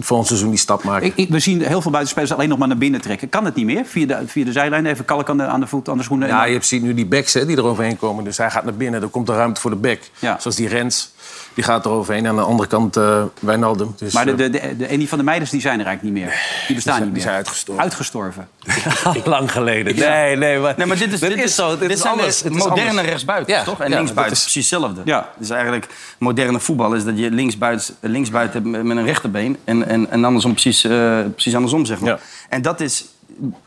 S4: voor een seizoen die stap maken.
S2: Ik, ik- we zien heel veel buitenspelers alleen nog maar naar binnen trekken. Kan het niet meer? Via de, via de zijlijn even kalk aan de, aan de voet, aan de schoenen. en
S4: Ja,
S2: dan-
S4: je ziet nu die backs hè, die eroverheen komen. Dus hij gaat naar binnen, dan komt er ruimte voor de back.
S2: Ja.
S4: Zoals die Rens, die gaat eroverheen. Aan de andere kant eh Wijnaldum. Dus,
S2: Maar de,
S4: eh,
S2: de, de, de- en die van de meiders die zijn er eigenlijk niet meer. Die bestaan niet meer.
S4: die zijn
S2: <laughs>
S4: uitgestorven.
S2: Uitgestorven.
S4: lang geleden. Nee, nee, maar,
S5: Nee, maar dit is,
S4: dit is zo. Dit, is
S5: zijn
S4: anders.
S5: de
S4: Het is
S5: moderne
S4: anders.
S5: rechtsbuiten,
S4: Ja,
S5: toch?
S4: ja,
S5: En
S4: dat
S5: linksbuiten
S4: is-
S5: is precies hetzelfde.
S2: Ja.
S5: Dus eigenlijk, moderne voetbal is dat je linksbuiten, linksbuiten hebt met een rechterbeen... en, en, en andersom precies, eh, precies andersom, zeg maar.
S4: Ja.
S5: En dat is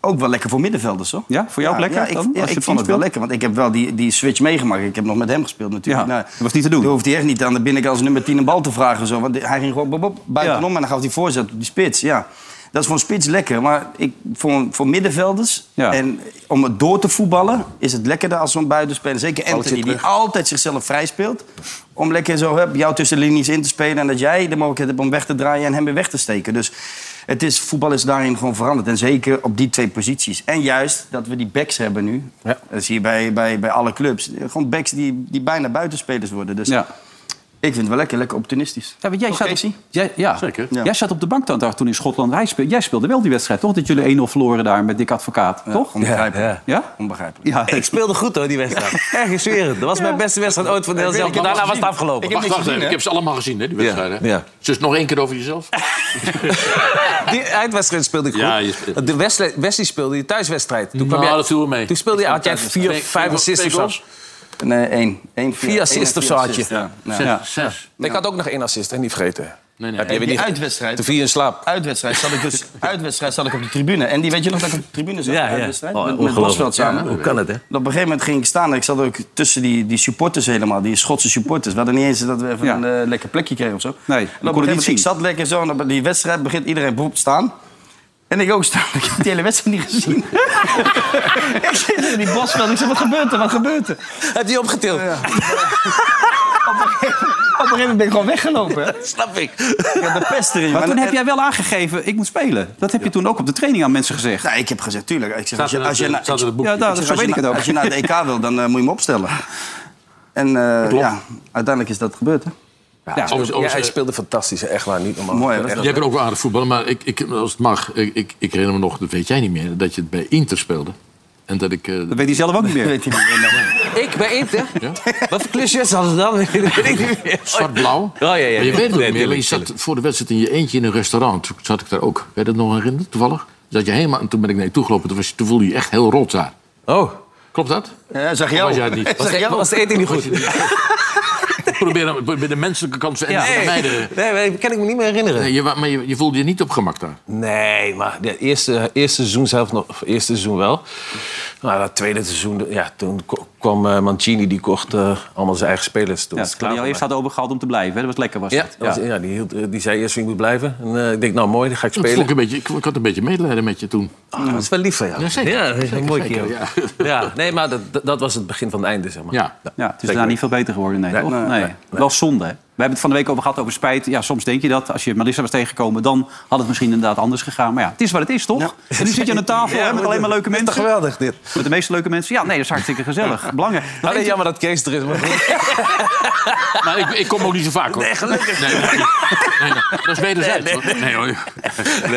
S5: ook wel lekker voor middenvelders, hoor.
S2: Ja, voor jou ook lekker
S5: Ja, ik,
S2: dan,
S5: ja,
S2: als je
S5: ik
S2: het
S5: vond het wel
S2: speelt?
S5: lekker, want ik heb wel die, die switch meegemaakt. Ik heb nog met hem gespeeld natuurlijk.
S2: Ja,
S5: Nou,
S2: dat was niet te doen.
S5: Toen hoefde hij echt niet aan de binnenkant als nummer 10 een bal te vragen. en Zo, want hij ging gewoon bop, bop, buitenom en dan gaf hij voorzet op die spits. Ja. Dat is voor een spits lekker, maar ik, voor, voor middenvelders...
S2: Ja.
S5: en om het door te voetballen is het lekkerder als zo'n buitenspeler. Zeker Anthony, die altijd zichzelf vrij speelt. Om lekker zo hup, jou tussen de linies in te spelen... en dat jij de mogelijkheid hebt om weg te draaien en hem weer weg te steken. Dus het is, voetbal is daarin gewoon veranderd. En zeker op die twee posities. En juist dat we die backs hebben nu.
S4: Ja.
S5: Dat zie je bij, bij, bij alle clubs. Gewoon backs die, die bijna buitenspelers worden. Dus
S2: Ja.
S5: ik vind het wel lekker, lekker opportunistisch.
S2: Ja, want jij,
S5: Toch,
S2: zat op,
S5: Casey?
S2: jij, ja.
S3: Zeker.
S5: Ja.
S2: jij zat op de bank dan, daar toen in Schotland. Hij speelde, jij speelde wel die wedstrijd, toch? Dat jullie 1-0 verloren daar met Dick Advocaat, toch?
S5: Onbegrijpelijk.
S4: Ja,
S2: Ja?
S5: Onbegrijpelijk.
S2: Ja.
S4: Ik speelde goed hoor, die <laughs> wedstrijd. Echt, ik zweer het. Dat was mijn beste wedstrijd ooit van de hele zelf.
S5: ik heb
S4: Daarna
S5: het
S4: was het
S5: gezien.
S4: afgelopen.
S5: heb
S3: Wacht,
S5: niks
S3: wacht
S5: gezien,
S3: even. Ik heb
S5: hè?
S3: ze allemaal gezien, hè, die wedstrijden.
S4: Oh, ja.
S3: Dus nog één keer over jezelf.
S4: Die eindwedstrijd speelde ik goed.
S3: Ja, je speelt-
S4: De Wesley, Wesley speelde die thuiswedstrijd. Toen, kwam
S3: Nou,
S4: jij-
S3: dat viel wel mee.
S4: toen speelde je, had jij vier,
S3: Twee-
S4: vijf
S3: twee-
S4: assists of
S3: twee
S4: zo.
S3: goals?
S5: Nee, één. Eén,
S4: Vier assists of
S5: Eén
S4: zo had
S5: assist,
S4: je.
S5: ja. Ja.
S3: Zes.
S2: Ja.
S3: Zes.
S4: Ik had ook nog één assist, hè, niet vergeten.
S3: Nee, nee.
S4: Heb je weer
S5: Die
S4: niet...
S5: uitwedstrijd.
S4: Te vier in slaap.
S5: Uitwedstrijd zat ik dus uitwedstrijd zat ik op de tribune. En die weet je nog dat ik op de tribune zat? Uitwedstrijd?
S7: Oh,
S5: met, met Bosveld samen.
S4: Oh, Hoe kan het, hè?
S5: En Op een gegeven moment ging ik staan en ik zat ook tussen die, die supporters helemaal, die Schotse supporters. We hadden niet eens dat we even
S2: Ja.
S5: een eh, lekker plekje kregen of zo.
S2: we
S5: En op een
S2: konden
S5: gegeven
S2: niet
S5: moment,
S2: zien.
S5: ik zat lekker zo en op die wedstrijd begint iedereen op te staan. En ik ook staan. <laughs> Ik heb die hele wedstrijd niet gezien. ik zit in die bosveld. Ik zeg, wat gebeurt er? Wat gebeurt er?
S4: <laughs> Heb je opgetild? <laughs>
S5: Op een gegeven moment ben ik gewoon weggelopen. hè.
S4: Snap ik.
S5: Ik had de pest erin.
S2: Maar toen
S5: en-
S2: heb jij wel aangegeven, ik moet spelen. Dat heb je toen ook op de training aan mensen gezegd.
S5: Nou, ik heb gezegd, tuurlijk. Ik zeg,
S3: Staat
S5: als
S3: in
S5: je,
S3: het-
S5: als je, na-
S3: staat in het boekje.
S2: Ja, nou, zo
S5: als, je
S2: weet ik het
S5: na-
S2: ook.
S5: als je naar het EK wil, dan eh, moet je hem opstellen. En eh, ja, uiteindelijk is dat gebeurd. Hè?
S2: Ja.
S3: Overigens- eh,
S4: Ja, hij
S3: overigens,
S4: speelde fantastisch, hè. echt waar, niet normaal.
S5: Mooi, hè, was
S4: Echt.
S3: Jij bent ook wel aardig voetballer, maar ik, ik, als het mag, ik, ik, ik herinner me nog, dat weet jij niet meer, dat je het bij Inter speelde. En dat ik. eh,
S4: Oh,
S2: Dat weet hij zelf ook niet meer.
S5: Weet je niet meer.
S4: Ik bij Inter? Wat voor klusjes hadden ze dan? <laughs> Dat weet ik niet meer.
S3: Zwart-blauw.
S4: ja, ja,
S3: Maar je
S4: ja.
S3: weet het ook
S4: Nee,
S3: niet meer. maar Je
S4: tuurlijk,
S3: zat voor de wedstrijd in je eentje in een restaurant. Toen zat ik daar ook. Weet je dat nog herinneren, toevallig? Zat je helemaal, en toen ben ik naar je toe gelopen. Toen, was je, toen voelde je je echt heel rot daar.
S4: Oh,
S3: Klopt dat?
S5: Ja, zag jij
S3: Of was
S5: ook.
S3: jij het niet?
S4: was, de- was de eten niet goed?
S3: Probeer bij de menselijke kant van ja.
S4: Nee,
S3: vermijden.
S4: nee, maar dat kan ik me niet meer herinneren.
S3: Nee, je, wa- maar je, je voelde je niet op gemak daar.
S4: Nee, maar de eerste, eerste seizoen zelf nog, of eerste seizoen wel. Maar dat tweede seizoen, ja, toen ko- kwam eh, Mancini, die kocht eh, allemaal zijn eigen spelers. Toen
S2: Ja,
S4: was
S2: die
S4: het klaar
S2: al
S4: voor
S2: eerst
S4: mij.
S2: had overgehaald om te blijven. Hè? Dat was lekker, was
S4: ja,
S2: het.
S4: dat was- ja, die, hield, eh, die zei eerst wie moet blijven. En eh, ik denk, nou mooi, dan ga ik
S3: Dat vond
S4: spelen.
S3: ik, een beetje, ik, ik had een beetje medelijden met je toen.
S4: Ah, dat is wel lief van jou.
S3: Ja, zeker.
S4: dat is een mooi keer.
S3: ja.
S4: Ja. nee, maar dat, dat- dat was het begin van het einde, zeg maar.
S3: Ja.
S2: Ja, het is daarna niet veel beter geworden, nee, toch? Nee, Wel zonde, hè? We hebben het van de week over gehad over spijt. Ja, soms denk je dat. Als je Melissa was tegengekomen, dan had het misschien inderdaad anders gegaan. Maar ja, het is wat het is, toch? En nu zit je aan de tafel hè, met alleen maar leuke mensen.
S4: geweldig, dit.
S2: Met de meeste leuke mensen. Ja, nee, dat is hartstikke gezellig. Belangrijk.
S4: Alleen jammer dat Kees er is. Maar goed.
S3: Maar Nou, ik, ik kom ook niet zo vaak hoor. Nee, gelukkig. Nee, nee, nee, nee. dat is wederzijds. hoor. Nee, hoor.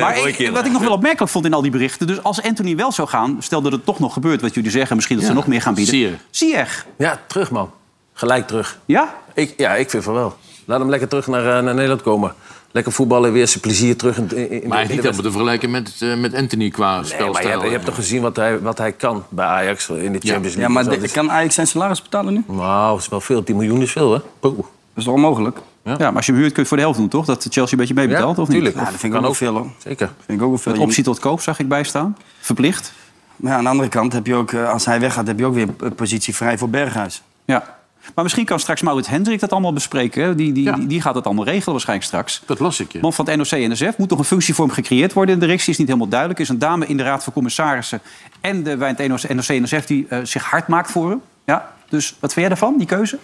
S2: maar ik- wat ik nog wel opmerkelijk vond in al die berichten... dus als Anthony wel zou gaan, stel dat het toch nog gebeurt... wat jullie zeggen, misschien dat ze nog meer gaan bieden.
S3: Ziyech.
S2: Ziyech.
S4: Ja, terug, man. Gelijk terug.
S2: Ja?
S4: Ik, ja, ik vind van wel. Laat hem lekker terug naar, eh, naar Nederland komen. Lekker voetballen, weer zijn plezier terug. In, in,
S3: Maar
S4: in-
S3: hij
S4: in
S3: is
S4: de
S3: niet helemaal te vergelijken met, eh, met Anthony qua
S4: Nee,
S3: spelstijl.
S4: maar je hebt, je hebt toch gezien wat hij, wat hij kan bij Ajax in de Champions League.
S5: Ja, maar
S4: en zo.
S5: de-
S4: Dus-
S5: kan Ajax zijn salaris betalen nu? Dat
S4: Wauw, dat is wel veel. 10 miljoen is veel, hè? Poeh.
S5: is toch onmogelijk?
S2: Ja, maar als je hem huurt kun je het voor de helft doen, toch? Dat Chelsea een beetje meebetaalt, of niet?
S4: tuurlijk.
S5: Ja, dat vind ik
S4: Kan
S5: ook wel
S4: ook.
S5: veel, hoor.
S4: Zeker.
S5: Vind ik ook wel veel.
S2: Met optie tot koop zag ik bijstaan. Verplicht.
S5: Maar ja, aan de andere kant heb je ook, eh, als hij weggaat, heb je ook weer een positie vrij voor Berghuis.
S2: Ja. Maar misschien kan straks Maurits Hendrik dat allemaal bespreken. hè? Die, die,
S3: Ja.
S2: die, die gaat dat allemaal regelen waarschijnlijk straks.
S3: Dat las ik je.
S2: Want van het NOC-NSF moet nog een functie voor hem gecreëerd worden. De directie is niet helemaal duidelijk. Er is een dame in de Raad van Commissarissen en de, bij het NOC-NSF die eh, zich hard maakt voor hem. Ja, dus wat vind jij daarvan, die keuze?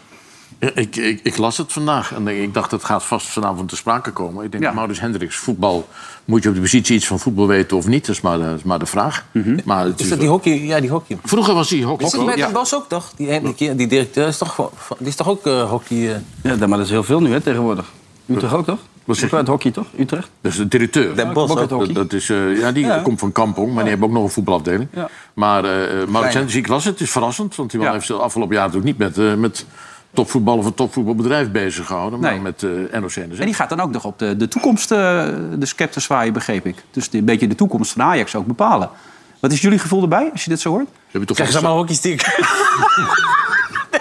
S3: Ja, Ik, ik, ik las het vandaag en ik dacht, het gaat vast vanavond te sprake komen. Ik denk,
S2: Ja.
S3: Maurits Hendricks, voetbal... Moet je op de positie iets van voetbal weten of niet? Dat is maar de, is maar de vraag. maar het
S4: Mhm. Is dat die hockey? Ja, die hockey.
S3: Vroeger was hij hockey.
S4: Is het met
S3: ja.
S4: de Bas ook toch? Die, ene keer- die directeur is toch, gewoon- die is toch ook eh, hockey... eh,
S5: Ja, maar dat is heel veel nu, hè, tegenwoordig. Utrecht ook, toch?
S3: Wat zeg
S5: Ook
S3: je?
S5: uit hockey, toch? Utrecht?
S3: Dus de directeur.
S4: Den Bosch
S3: Dat-
S4: ook.
S3: dat, dat is, eh, ja, die komt van Kampong, maar die hebben ook nog een voetbalafdeling.
S5: Ja.
S3: Maar eh eh, Maurits Hendricks, ik las het, het is verrassend. Want die man
S2: Ja.
S3: heeft zich de afgelopen jaar natuurlijk niet met, eh, met topvoetbal of een topvoetbalbedrijf bezig gehouden. Maar
S2: Nee.
S3: met eh NOC en
S2: En die gaat dan ook nog op de, de toekomst, eh, de scepter zwaaien, begreep ik. Dus die- een beetje de toekomst van Ajax ook bepalen. Wat is jullie gevoel erbij, als je dit zo hoort?
S3: Heb je toch
S4: Krijg ze allemaal hockeystick?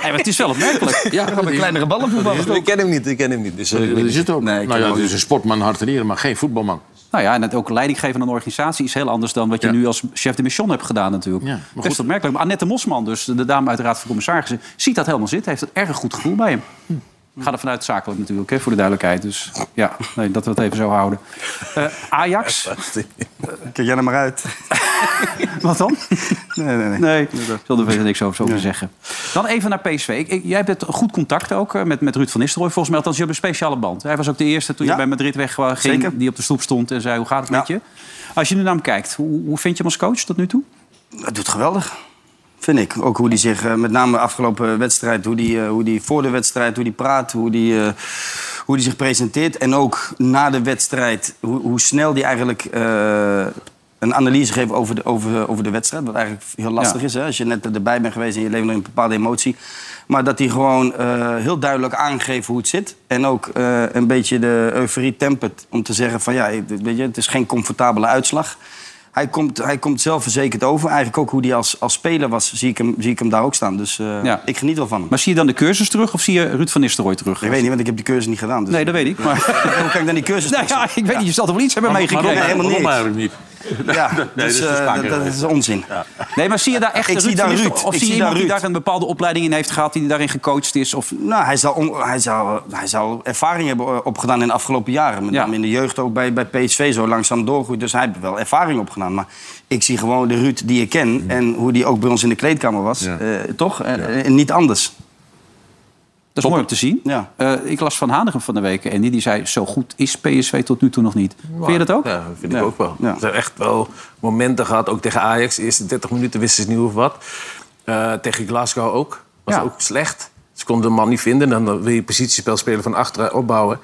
S2: Nee, maar het is wel opmerkelijk.
S3: <laughs> Ja, dat is-
S5: Kleinere ballen voetballen.
S4: ik ken hem niet, ik ken hem niet. Dus, eh, ik weet
S3: dat
S4: niet.
S3: is het ook.
S5: Nee, ik
S3: nou ja,
S5: ook
S3: het is een sportman, hart en nieren, maar geen voetbalman.
S2: Nou ja, en het ook leiding geven aan een organisatie is heel anders dan wat je
S3: Ja.
S2: nu als chef de mission hebt gedaan natuurlijk.
S3: Ja, maar
S2: Best
S3: goed.
S2: opmerkelijk. Maar Annette Mosman, dus de dame uit de Raad van Commissarissen, ziet dat helemaal zitten. Heeft het erg goed gevoel bij hem.
S3: Hm.
S2: Ik ga er vanuit zakelijk natuurlijk, hè, voor de duidelijkheid. Dus ja, nee, dat we het even zo houden. Eh, Ajax,
S5: Kijk jij er maar uit.
S2: wat dan?
S5: Nee, nee,
S2: <laughs>
S5: nee.
S2: Nee, ik zal er verder niks over, over zeggen. Dan even naar PSV. Ik, ik- jij hebt goed contact ook eh, met, met Ruud van Nistelrooy. Volgens mij althans, je hebt een speciale band. Hij was ook de eerste toen
S5: Ja.
S2: je bij Madrid weg wa- ging...
S5: Zeker.
S2: die op de stoep stond en zei, hoe gaat het met
S5: Ja.
S2: je? Als je nu naar hem kijkt, hoe, hoe vind je hem als coach tot nu toe?
S5: Dat doet geweldig. Vind ik. Ook hoe hij zich, eh, met name de afgelopen wedstrijd, hoe die, eh, hoe die voor de wedstrijd, hoe die praat, hoe die, eh, hoe die zich presenteert. En ook na de wedstrijd, hoe, hoe snel die eigenlijk eh, een analyse geeft over de, over, over de wedstrijd. Wat eigenlijk heel lastig
S2: Ja.
S5: is, hè? als je net erbij bent geweest en je leeft nog een bepaalde emotie. Maar dat hij gewoon eh, heel duidelijk aangeeft hoe het zit. En ook eh, een beetje de euforie tempert om te zeggen van ja, weet je, het is geen comfortabele uitslag. Hij komt, hij komt zelfverzekerd over. Eigenlijk ook hoe hij als, als speler was, zie ik, hem, zie ik hem daar ook staan. Dus eh,
S2: Ja.
S5: ik geniet wel van hem.
S2: Maar zie je dan de cursus terug of zie je Ruud van Nistelrooy terug?
S5: Ik weet niet, want ik heb die cursus niet gedaan. Dus
S2: Nee, dat weet ik. Maar...
S5: <laughs> Hoe kan ik dan die
S2: <laughs>
S5: cursus
S2: Nou ja, ik weet niet, je zal er wel iets hebben
S5: waarom-
S2: meegekregen.
S5: Nee, helemaal
S3: Waarom
S5: niks.
S3: eigenlijk niet?
S5: Ja, dus,
S3: dat is vaker
S5: eh, dat, dat
S3: geweest.
S5: is onzin.
S2: Nee, maar zie je daar echt
S5: Ik
S2: Ruud
S5: zie
S2: van
S5: daar
S2: Nistelrooy?
S5: Ruud.
S2: Of
S5: Ik
S2: zie je
S5: zie
S2: iemand
S5: daar
S2: die
S5: Ruud.
S2: daar een bepaalde opleiding in heeft gehad... die daarin gecoacht is? Of...
S5: Nou, hij zal, on- hij, zal, hij zal ervaring hebben eh, opgedaan in de afgelopen jaren. Met
S2: Ja.
S5: name in de jeugd ook bij, bij PSV zo langzaam doorgroeit. Dus hij heeft wel ervaring opgedaan. Maar ik zie gewoon de Ruud die ik ken. En hoe die ook bij ons in de kleedkamer was. eh, toch? En- en niet anders.
S2: Dat is mooi om te zien.
S5: Ja.
S2: Eh, ik las van Hanegem van de week en die, die zei... zo goed is PSV tot nu toe nog niet. Vind je dat ook?
S4: Ja, dat vind ik ook wel.
S5: Ja.
S4: Ze hebben echt wel momenten gehad, ook tegen Ajax. De eerste 30 minuten wisten ze niet hoe of wat. Eh, tegen Glasgow ook. Was
S2: Ja.
S4: ook slecht. Ze konden de man niet vinden. Dan wil je positiespel spelen van achteren opbouwen.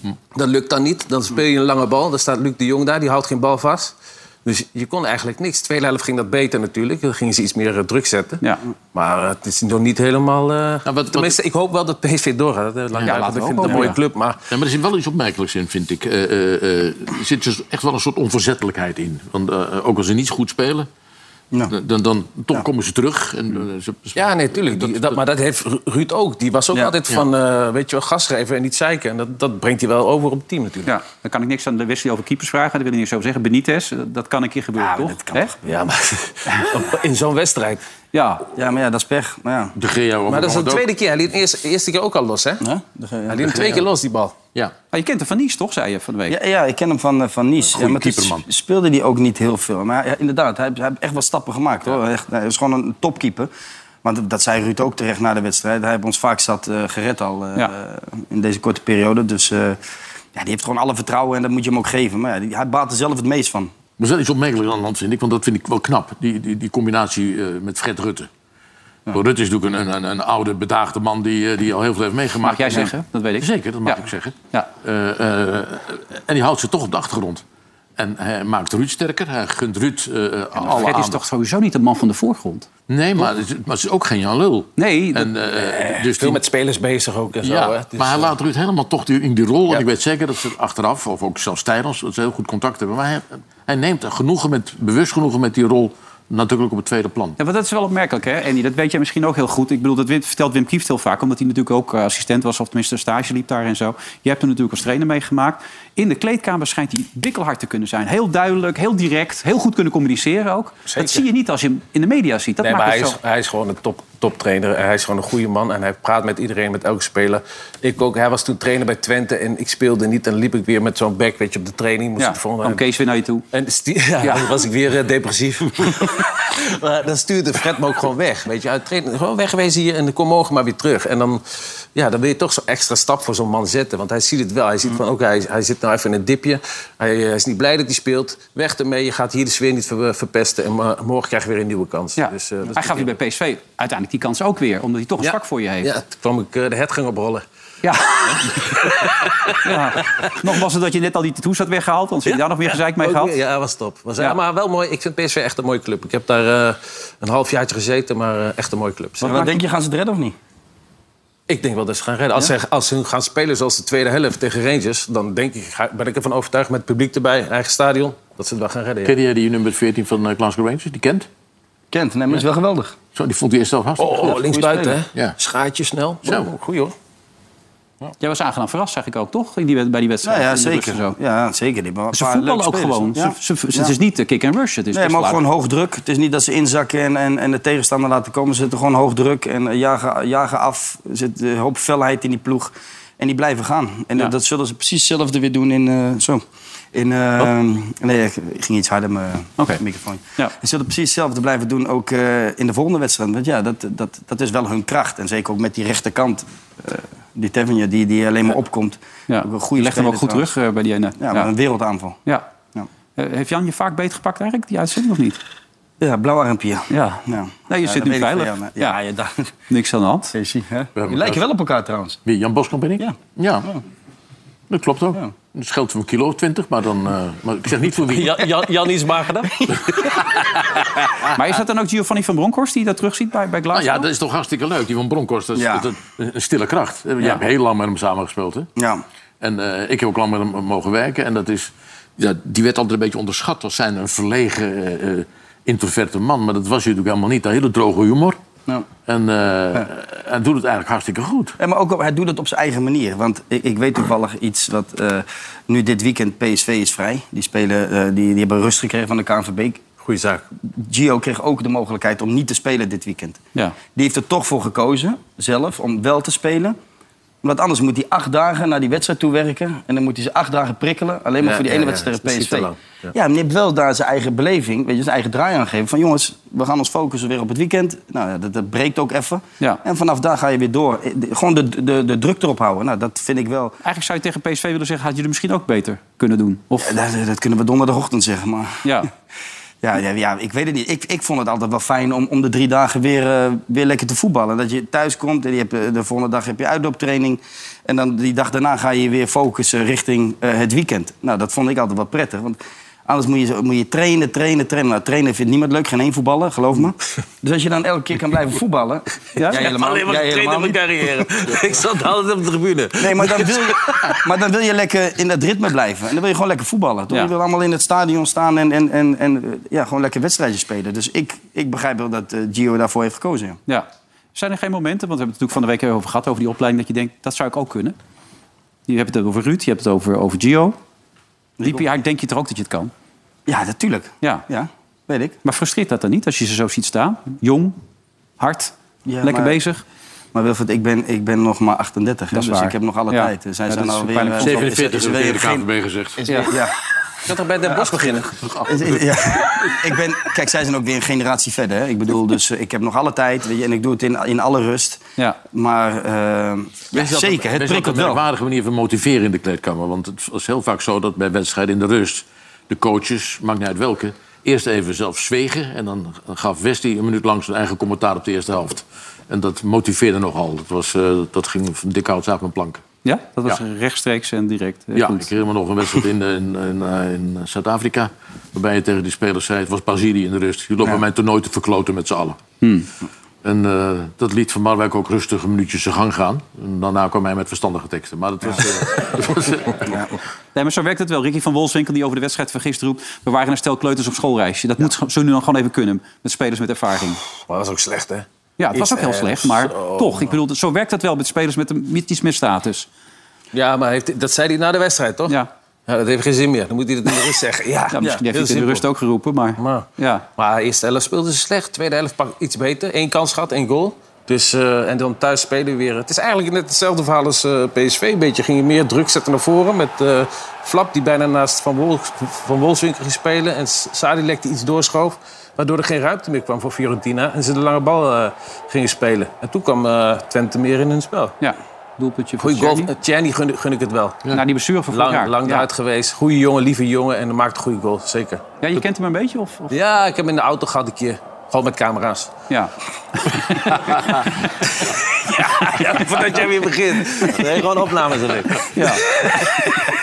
S3: Hm.
S4: Dat lukt dan niet. Dan speel je een lange bal. Dan staat Luc de Jong daar, die houdt geen bal vast. Dus je kon eigenlijk niks. Tweede helft ging dat beter natuurlijk. Dan gingen ze iets meer eh, druk zetten.
S2: Ja.
S4: Maar eh, het is nog niet helemaal... eh,
S3: Nou, wat-
S4: tenminste, ik hoop wel dat PSV doorgaat. Ja,
S2: laten
S4: eh, ik
S2: we
S4: vind het
S2: hopen,
S4: een mooie
S2: ja.
S4: club, maar...
S3: Ja, maar er zit wel iets opmerkelijks in, vind ik. Eh, eh, eh, er zit dus echt wel een soort onverzettelijkheid in. Want eh, ook als ze niet goed spelen,
S5: Nou.
S3: dan, dan, toch komen ze terug. En, eh, ze- ze-
S4: Ja, nee, tuurlijk. Die- dat, maar dat heeft Ru- Ruud ook. Die was ook
S5: Ja.
S4: altijd van, eh, weet je wel, gasgeven en niet zeiken. En dat, dat brengt hij wel over op het team natuurlijk.
S2: Ja, dan kan ik niks aan de Wesley over keepers vragen. Daar wil ik niks over zeggen. Benitez, eh, dat kan een keer gebeuren, toch? Hè?
S4: Ja, maar <laughs> in zo'n wedstrijd.
S2: Ja.
S5: Ja, maar ja, dat is pech. Maar ja.
S3: de Gea ook
S4: Maar dat is de
S3: Mohamed ook.
S4: tweede keer. Hij liet de eerste, eerste keer ook al los, hè?
S5: Ja, dat ga je-
S4: Hij liet hem twee keer los, die bal.
S3: Ja.
S2: Ah, je kent hem van Nice, toch, zei je van de week?
S5: Ja, ja, ik ken hem van, eh, van Nice. Ja, maar toen
S3: keeperman.
S5: sp- speelde hij ook niet heel veel. Maar ja, inderdaad, hij, hij heeft echt wel stappen gemaakt. Hoor. Echt, hij is gewoon een topkeeper. Want dat- dat zei Ruud ook terecht na de wedstrijd. Hij heeft ons vaak zat eh, gered al eh,
S2: Ja.
S5: eh, in deze korte periode. Dus eh, ja, die heeft gewoon alle vertrouwen en dat moet je hem ook geven. Maar ja, die- hij baat er zelf het meest van.
S3: Er is wel iets opmerkelijks aan de hand, vind ik. Want dat vind ik wel knap, die, die, die combinatie eh, met Fred Rutte. Want Rutte is natuurlijk een, een, een oude, bedaagde man die, eh, die al heel veel heeft meegemaakt.
S2: Mag jij zeggen? Dat weet ik.
S3: Zeker, dat mag
S2: Ja.
S3: ik zeggen.
S2: Ja.
S3: Eh, eh, en die houdt ze toch op de achtergrond. En hij maakt Ruud sterker. Hij gunt Ruud eh, alle
S2: Fred is
S3: aandacht.
S2: toch sowieso niet de man van de voorgrond?
S3: Nee, maar het, maar het is ook geen Jan Lul.
S2: Nee, dat-
S3: En, eh, dus
S4: Veel
S3: die-
S4: met spelers bezig ook en zo.
S3: ja,
S4: hè? Het is,
S3: maar hij
S4: eh,
S3: laat Ruud helemaal toch die- in die rol.
S4: Ja.
S3: En ik weet zeker dat ze achteraf, of ook zelfs tijdens, dat ze heel goed contact hebben. Maar hij, hij neemt genoegen met, bewust genoegen met die rol natuurlijk op het tweede plan.
S2: Ja, want dat is wel opmerkelijk, hè, Andy? Dat weet jij misschien ook heel goed. Ik bedoel, dat Wim- vertelt Wim Kieft heel vaak... omdat hij natuurlijk ook eh, assistent was... of tenminste stage liep daar en zo. Je hebt hem natuurlijk als trainer meegemaakt. In de kleedkamer schijnt hij bikkelhard te kunnen zijn. Heel duidelijk, heel direct, heel goed kunnen communiceren ook. Dat zie je niet als je hem in de media ziet. Dat
S4: nee, maar
S2: maakt
S4: hij
S2: het zo.
S4: is, hij is gewoon een top, toptrainer. Hij is gewoon een goede man. En hij praat met iedereen, met elke speler. Ik ook. Hij was toen trainer bij Twente en ik speelde niet. En liep ik weer met zo'n back, weet je, op de training. Moest
S2: Ja,
S4: ik volgende-
S2: kwam Kees weer naar je toe.
S4: En stu- <laughs> ja, dan was ik weer eh, depressief. <laughs> maar dan stuurde Fred me ook gewoon weg. Weet je, uit training, gewoon wegwezen hier en dan kom morgen maar weer terug. En dan, ja, dan wil je toch zo'n extra stap voor zo'n man zetten. Want hij ziet het wel. Hij ziet van, oké, hij, hij zit nou even in een dipje. Hij, eh, hij is niet blij dat hij speelt. Weg ermee, je gaat hier de sfeer niet ver- verpesten. En eh, morgen krijg je weer een nieuwe kans.
S2: Ja.
S4: Dus, eh, dat is
S2: hij gaf
S4: natuurlijk-
S2: je bij PSV uiteindelijk die kans ook weer. Omdat hij toch een zwak voor je heeft.
S4: Ja, toen kwam ik eh, de hetgang oprollen.
S2: Ja. <laughs> ja. Nog was het dat je net al die tattoos had weggehaald. Anders had je daar nog meer gezeik mee
S4: Ook
S2: gehad.
S4: weer- Oh, Ja, was top. Was, eh,
S2: Ja.
S4: Maar wel mooi. Ik vind PSV echt een mooie club. Ik heb daar eh, een halfjaartje gezeten, maar eh, echt een mooie club.
S5: Wat, denk je, gaan ze het redden of niet?
S4: Ik denk wel dat ze gaan redden. Als, ze, als ze gaan spelen zoals de tweede helft tegen Rangers... dan denk ik, ga- ben ik ervan overtuigd met het publiek erbij, eigen stadion... dat ze het wel gaan redden. ja.
S3: Ken jij die nummer 14 van eh, Glasgow Rangers? Die kent?
S5: Kent, nee, maar is wel geweldig.
S3: Zo, die vond hij eerst zelf hartstikke
S4: Oh,
S3: goed.
S4: oh linksbuiten, hè?
S3: Ja.
S4: Schaartje snel.
S3: Zo.
S4: Oh, goeie hoor. <laughs>
S2: Jij was aangenaam verrast, zeg ik ook, toch? In die, wed- bij die wedstrijd.
S5: Nou ja,
S2: in de
S5: zeker.
S2: rust en zo.
S5: Ja, zeker. Die hebben een
S2: Ze
S5: paar leuke
S2: voetballen ook
S5: spelers.
S2: gewoon.
S5: Ja.
S2: Ze, ze- ze- Het is niet de kick and rush. Het is
S5: Nee,
S2: best
S5: maar ook
S2: laag.
S5: gewoon hoog druk. Het is niet dat ze inzakken en, en, en de tegenstander laten komen. Ze zitten gewoon hoog druk en eh, jagen, jagen af. Er zit eh, een hoop felheid in die ploeg. En die blijven gaan. En eh,
S2: Ja.
S5: dat, dat zullen ze precies hetzelfde weer doen in... eh, zo. In, eh, Nee, ik ik ging iets harder mijn
S2: Oh. Oké.
S5: microfoon.
S2: Ja.
S5: Ze zullen precies hetzelfde blijven doen ook eh, in de volgende wedstrijd. Want ja, dat, dat, dat is wel hun kracht. En zeker ook met die rechterkant. eh, die Tevenje, die, die alleen maar opkomt.
S2: Ja.
S5: Ook een
S2: Je
S5: goede
S2: legt hem ook
S5: speler
S2: goed
S5: trouwens.
S2: terug eh, bij die ene.
S5: Ja, maar een wereldaanval.
S2: Ja.
S5: Ja.
S2: Eh, heeft Jan je vaak beetgepakt eigenlijk, die uitzending, of niet?
S5: Ja, blauw armpje.
S2: Ja.
S5: Ja.
S2: Nee, je
S5: Ja,
S2: zit
S5: dat
S2: nu
S5: weet ik
S2: veilig.
S5: van jou, maar- Ja, ja, <laughs> daar.
S2: Niks aan de hand.
S5: Die lijken wel op elkaar trouwens.
S3: Wie, Jan Boskamp ben ik?
S5: Ja.
S3: ja. Dat klopt ook.
S5: Ja.
S3: Het scheelt een kilo of twintig, maar dan... eh, maar ik zeg niet voor wie.
S9: Jan, Jan, Jan is magerder.
S2: Maar is dat dan ook Giovanni van Bronckhorst die je dat terugziet bij, bij
S3: Nou
S2: Glasgow?
S3: ja, dat is toch hartstikke leuk. Die van Bronkhorst, dat is,
S5: Ja.
S3: dat is een een stille kracht. Je hebt heel lang met hem samengespeeld, hè?
S5: Ja.
S3: En eh, ik heb ook lang met hem mogen werken. En dat is, ja, die werd altijd een beetje onderschat als zijn een verlegen, eh, eh, introverte man. Maar dat was hij natuurlijk helemaal niet. Een hele droge humor.
S5: Ja.
S3: En eh, hij doet het eigenlijk hartstikke goed.
S5: Ja, maar ook, op- hij doet het op zijn eigen manier. Want ik, ik weet toevallig iets wat... eh, nu dit weekend PSV is vrij. Die, spelen, eh, die, die hebben rust gekregen van de KNVB.
S4: Goeie zaak.
S5: Gio kreeg ook de mogelijkheid om niet te spelen dit weekend.
S2: Ja.
S5: Die heeft er toch voor gekozen, zelf, om wel te spelen. Omdat anders moet hij acht dagen naar die wedstrijd toe werken. En dan moet hij ze acht dagen prikkelen. Alleen maar
S4: Ja,
S5: voor die
S4: ja,
S5: ene
S4: ja.
S5: wedstrijd
S4: Dat is
S5: PSV.
S4: niet te
S5: Ja,
S4: lang.
S5: maar die heeft wel daar zijn eigen beleving, weet je, zijn eigen draai aan gegeven. Van jongens, we gaan ons focussen weer op het weekend. Nou ja, dat, dat breekt ook even.
S2: Ja.
S5: En vanaf daar ga je weer door. Eh, de- Gewoon de, de, de druk erop houden. Nou, dat vind ik wel...
S2: Eigenlijk zou je tegen PSV willen zeggen, had je er misschien ook beter kunnen doen. Of, ja,
S5: Dat, dat kunnen we donderdagochtend zeggen, maar...
S2: ja.
S5: Ja, ja, ja, ik weet het niet. Ik, ik vond het altijd wel fijn om, om de drie dagen weer, eh, weer lekker te voetballen. Dat je thuis komt en je hebt, eh, de volgende dag heb je uitlooptraining. En dan die dag daarna ga je weer focussen richting eh, het weekend. Nou, dat vond ik altijd wel prettig. Want anders moet je, zo- moet je trainen, trainen, trainen. Nou, trainen vindt niemand leuk. Geen één voetballer, geloof <laughs> me. Dus als je dan elke keer kan blijven voetballen... Ja,
S9: Alleen maar
S5: jij
S9: getraind in
S5: helemaal
S9: mijn
S5: niet.
S9: carrière. Ik zat altijd op de tribune.
S5: Nee, maar
S2: <laughs>
S5: dan, wil je, maar dan wil je lekker in dat ritme blijven. En dan wil je gewoon lekker voetballen. Toch?
S2: Ja.
S5: Je wil allemaal in het stadion staan en, en, en, en eh, ja, gewoon lekker wedstrijdjes spelen. Dus ik, ik begrijp wel dat eh, Gio daarvoor heeft gekozen. ja.
S2: Ja. Zijn er geen momenten, want we hebben het natuurlijk van de week even over gehad... over die opleiding, dat je denkt, dat zou ik ook kunnen? Je hebt het over Ruud, je hebt het over, over Gio. Diep in je hart denk je toch ook dat je het kan?
S5: Ja, natuurlijk.
S2: Ja.
S5: Ja, weet ik.
S2: Maar frustreert dat dan niet als je ze zo ziet staan? Jong, hard,
S5: Ja,
S2: lekker
S5: maar-
S2: bezig.
S5: Maar Wilfred, ik ben, ik ben nog maar 38, hè,
S2: Dat is
S5: dus
S2: waar.
S5: ik heb nog alle
S2: Ja.
S5: tijd. Zij
S2: Ja,
S5: zijn
S2: dat is
S5: alweer...
S2: een
S5: eh,
S2: pijnlijk
S3: 47 is
S5: ze
S3: er
S5: wil
S3: weer
S5: je
S3: de
S5: geen-
S3: KNVB gezegd.
S5: Ja. Ja.
S4: Ik had toch bij Den Bosch beginnen?
S5: Is- is- ja. <laughs> ik ben, kijk, zij zijn ook weer een generatie verder. Hè. Ik
S2: <laughs>
S5: bedoel, dus eh, ik heb nog alle tijd weet je, en ik doe het in, in alle rust.
S2: Ja.
S5: Maar eh, ja,
S3: Wees altijd-
S5: zeker, het
S3: wees altijd
S5: prikkelt
S3: een
S5: wel.
S3: merkwaardige manier van motiveren in de kleedkamer. Want het is heel vaak zo dat bij wedstrijden in de rust... de coaches, maakt niet uit welke, eerst even zelf zwegen... en dan gaf Westie een minuut lang zijn eigen commentaar op de eerste helft. En dat motiveerde nogal. Dat, was, eh, dat ging van dik hout af mijn planken.
S2: Ja, dat was
S3: Ja.
S2: rechtstreeks en direct. Heel
S3: Ja,
S2: goed.
S3: ik herinner me nog een wedstrijd in, eh, in, in, eh, in Zuid-Afrika... waarbij je tegen die spelers zei, het was Brazilië in de rust... jullie lopen mijn toernooi te verkloten met z'n allen.
S5: Hmm.
S3: En eh, dat liet Van Marwijk ook rustig een minuutje zijn gang gaan. En daarna kwam hij met verstandige teksten. Maar dat was... eh, <laughs> dat was, eh,
S2: Nee, maar zo werkt het wel. Ricky van Wolfswinkel die over de wedstrijd van gisteren roept... we waren een stel kleuters op schoolreisje. Dat moet zo- zo nu dan gewoon even kunnen. Met spelers met ervaring.
S4: Maar dat was ook slecht, hè?
S2: Ja, het was
S4: Is
S2: ook heel
S4: echt
S2: slecht, maar
S4: zo,
S2: toch. Ik bedoel, zo werkt dat wel met spelers met, een, met iets meer status.
S4: Ja, maar heeft, dat zei hij na de wedstrijd, toch?
S2: Ja.
S4: Ja, dat heeft geen zin meer. Dan moet hij het in de rust zeggen. Ja,
S2: Ja, misschien
S4: ja,
S2: heeft hij
S4: heel
S2: het in de
S4: simpel.
S2: rust ook geroepen, maar...
S4: Maar,
S2: Ja.
S4: maar eerste helft speelde ze slecht. Tweede helft pak iets beter. Eén kans gehad, één goal. Dus, eh, en dan thuis spelen we weer. Het is eigenlijk net hetzelfde verhaal als eh, PSV. Een beetje ging je meer druk zetten naar voren. Met eh, Flap die bijna naast Van, Wol, van Wolfswinkel ging spelen. En S- Sadilek die iets doorschoof. Waardoor er geen ruimte meer kwam voor Fiorentina. En ze de lange bal eh, gingen spelen. En toen kwam eh, Twente meer in hun spel.
S2: Ja, doelpuntje voor
S4: Goeie goal.
S2: Tjerni.
S4: Tjerni gun, gun ik het wel.
S2: Na die blessure van vorig
S4: Lang,
S2: jaar.
S4: lang
S2: ja.
S4: eruit geweest. Goeie jongen, lieve jongen. En maakt een goede goal, zeker.
S2: Ja, je kent hem een beetje? Of, of-
S4: Ja, ik heb hem in de auto gehad een keer. Gewoon met camera's. <laughs>
S2: Ja.
S4: Voordat jij weer begint. <laughs> Nee, gewoon opnames erin.
S2: Ja.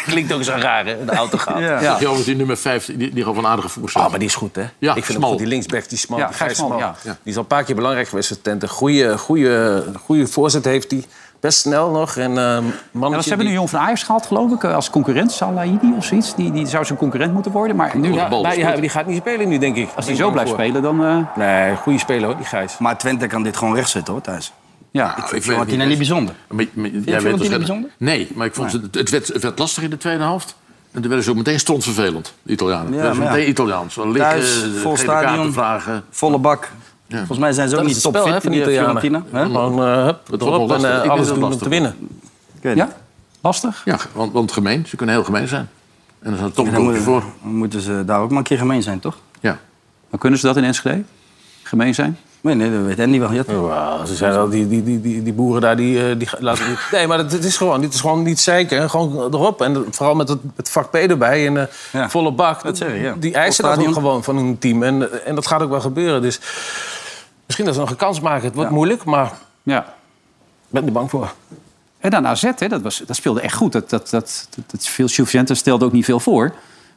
S4: Klinkt ook zo raar, hè? De auto gaat.
S5: Ja.
S3: Ja. Jongens, die nummer 5, die, die gaf een aardige voorzet.
S5: Ah,
S4: Oh, maar die is goed, hè?
S3: Ja,
S4: ik vind
S3: smal.
S4: hem goed. Die linksback, die smal.
S2: Ja,
S4: die
S2: Gijs
S4: Gijs
S2: Smal,
S4: Smal.
S2: ja.
S4: Die is al een paar keer belangrijk geweest voor Twente. Goeie, goeie, goeie voorzet heeft hij. Best snel nog. En, ehm
S2: Ja,
S4: mannetje
S2: want ze hebben nu
S4: die-
S2: een jong van Ajax gehaald, geloof ik, eh, als concurrent. Salahidi of zoiets. Die, die zou zijn concurrent moeten worden. Maar nu,
S4: Ja, nou, die, die gaat niet spelen nu, denk ik.
S2: als hij zo blijft spelen, dan... eh,
S4: Nee, goede speler, hoor, die Gijs.
S5: Maar Twente kan dit gewoon recht zetten, hoor, Thijs.
S2: ja.
S3: Nou, ik weet het
S5: Wordt hij nou niet bijzonder?
S3: Maar- maar jij
S5: het
S3: weet
S5: niet
S3: waarschijnlijk-
S5: bijzonder?
S3: Nee, maar ik vond het, het, werd, het werd lastig in de tweede helft. En toen werden ze ook meteen strontvervelend, de Italianen.
S5: Ja,
S3: Ja,
S5: maar ja.
S3: meteen Italiaans. Zo liggen,
S5: Thuis,
S3: eh,
S5: vol
S3: gele
S5: stadion.
S3: kaarten vragen.
S5: Volle bak. Volgens mij zijn ze ook
S4: Dat is
S5: niet
S4: het spel,
S5: topfit
S4: hè, van
S5: in
S4: die
S5: die Fiorentina.
S4: Italianen.
S5: hè?
S4: Gewoon eh, hup,
S3: Dat was wel
S4: erop en
S3: lastig.
S4: eh,
S3: Ik vind
S4: alles
S3: dat
S4: doen om
S3: lastig.
S4: te winnen.
S2: ja? Lastig?
S3: Ja, want, want gemeen. Ze kunnen heel gemeen zijn. En dan is er toch een
S5: Dan
S3: kopje voor.
S5: moeten, dan moeten ze daar ook maar een keer gemeen zijn, toch?
S3: Ja.
S2: Maar kunnen ze dat in Enschede? Gemeen zijn?
S5: Nee, nee, dat weet Andy wel. Ja, toch?
S4: Wauw, ze zijn al die, die, die, die, die boeren daar, die, eh, die ga- laten niet... Nee, maar dat- het is gewoon, dit is gewoon niet zeker. hè. Gewoon erop. En dat- vooral met het, het vak P erbij en eh,
S5: Ja,
S4: volle bak.
S5: dat zeg ik, ja.
S4: Die eisen
S5: Vol
S4: dat ook
S5: stadion.
S4: gewoon van hun team. En, eh, en dat gaat ook wel gebeuren. Dus misschien dat ze nog een kans maken. Het wordt moeilijk, maar ik
S2: Ja.
S4: ben er bang voor.
S2: En dan AZ, hè, dat, was, dat speelde echt goed. Dat, dat, dat, dat, dat veel Juventus stelde ook niet veel voor.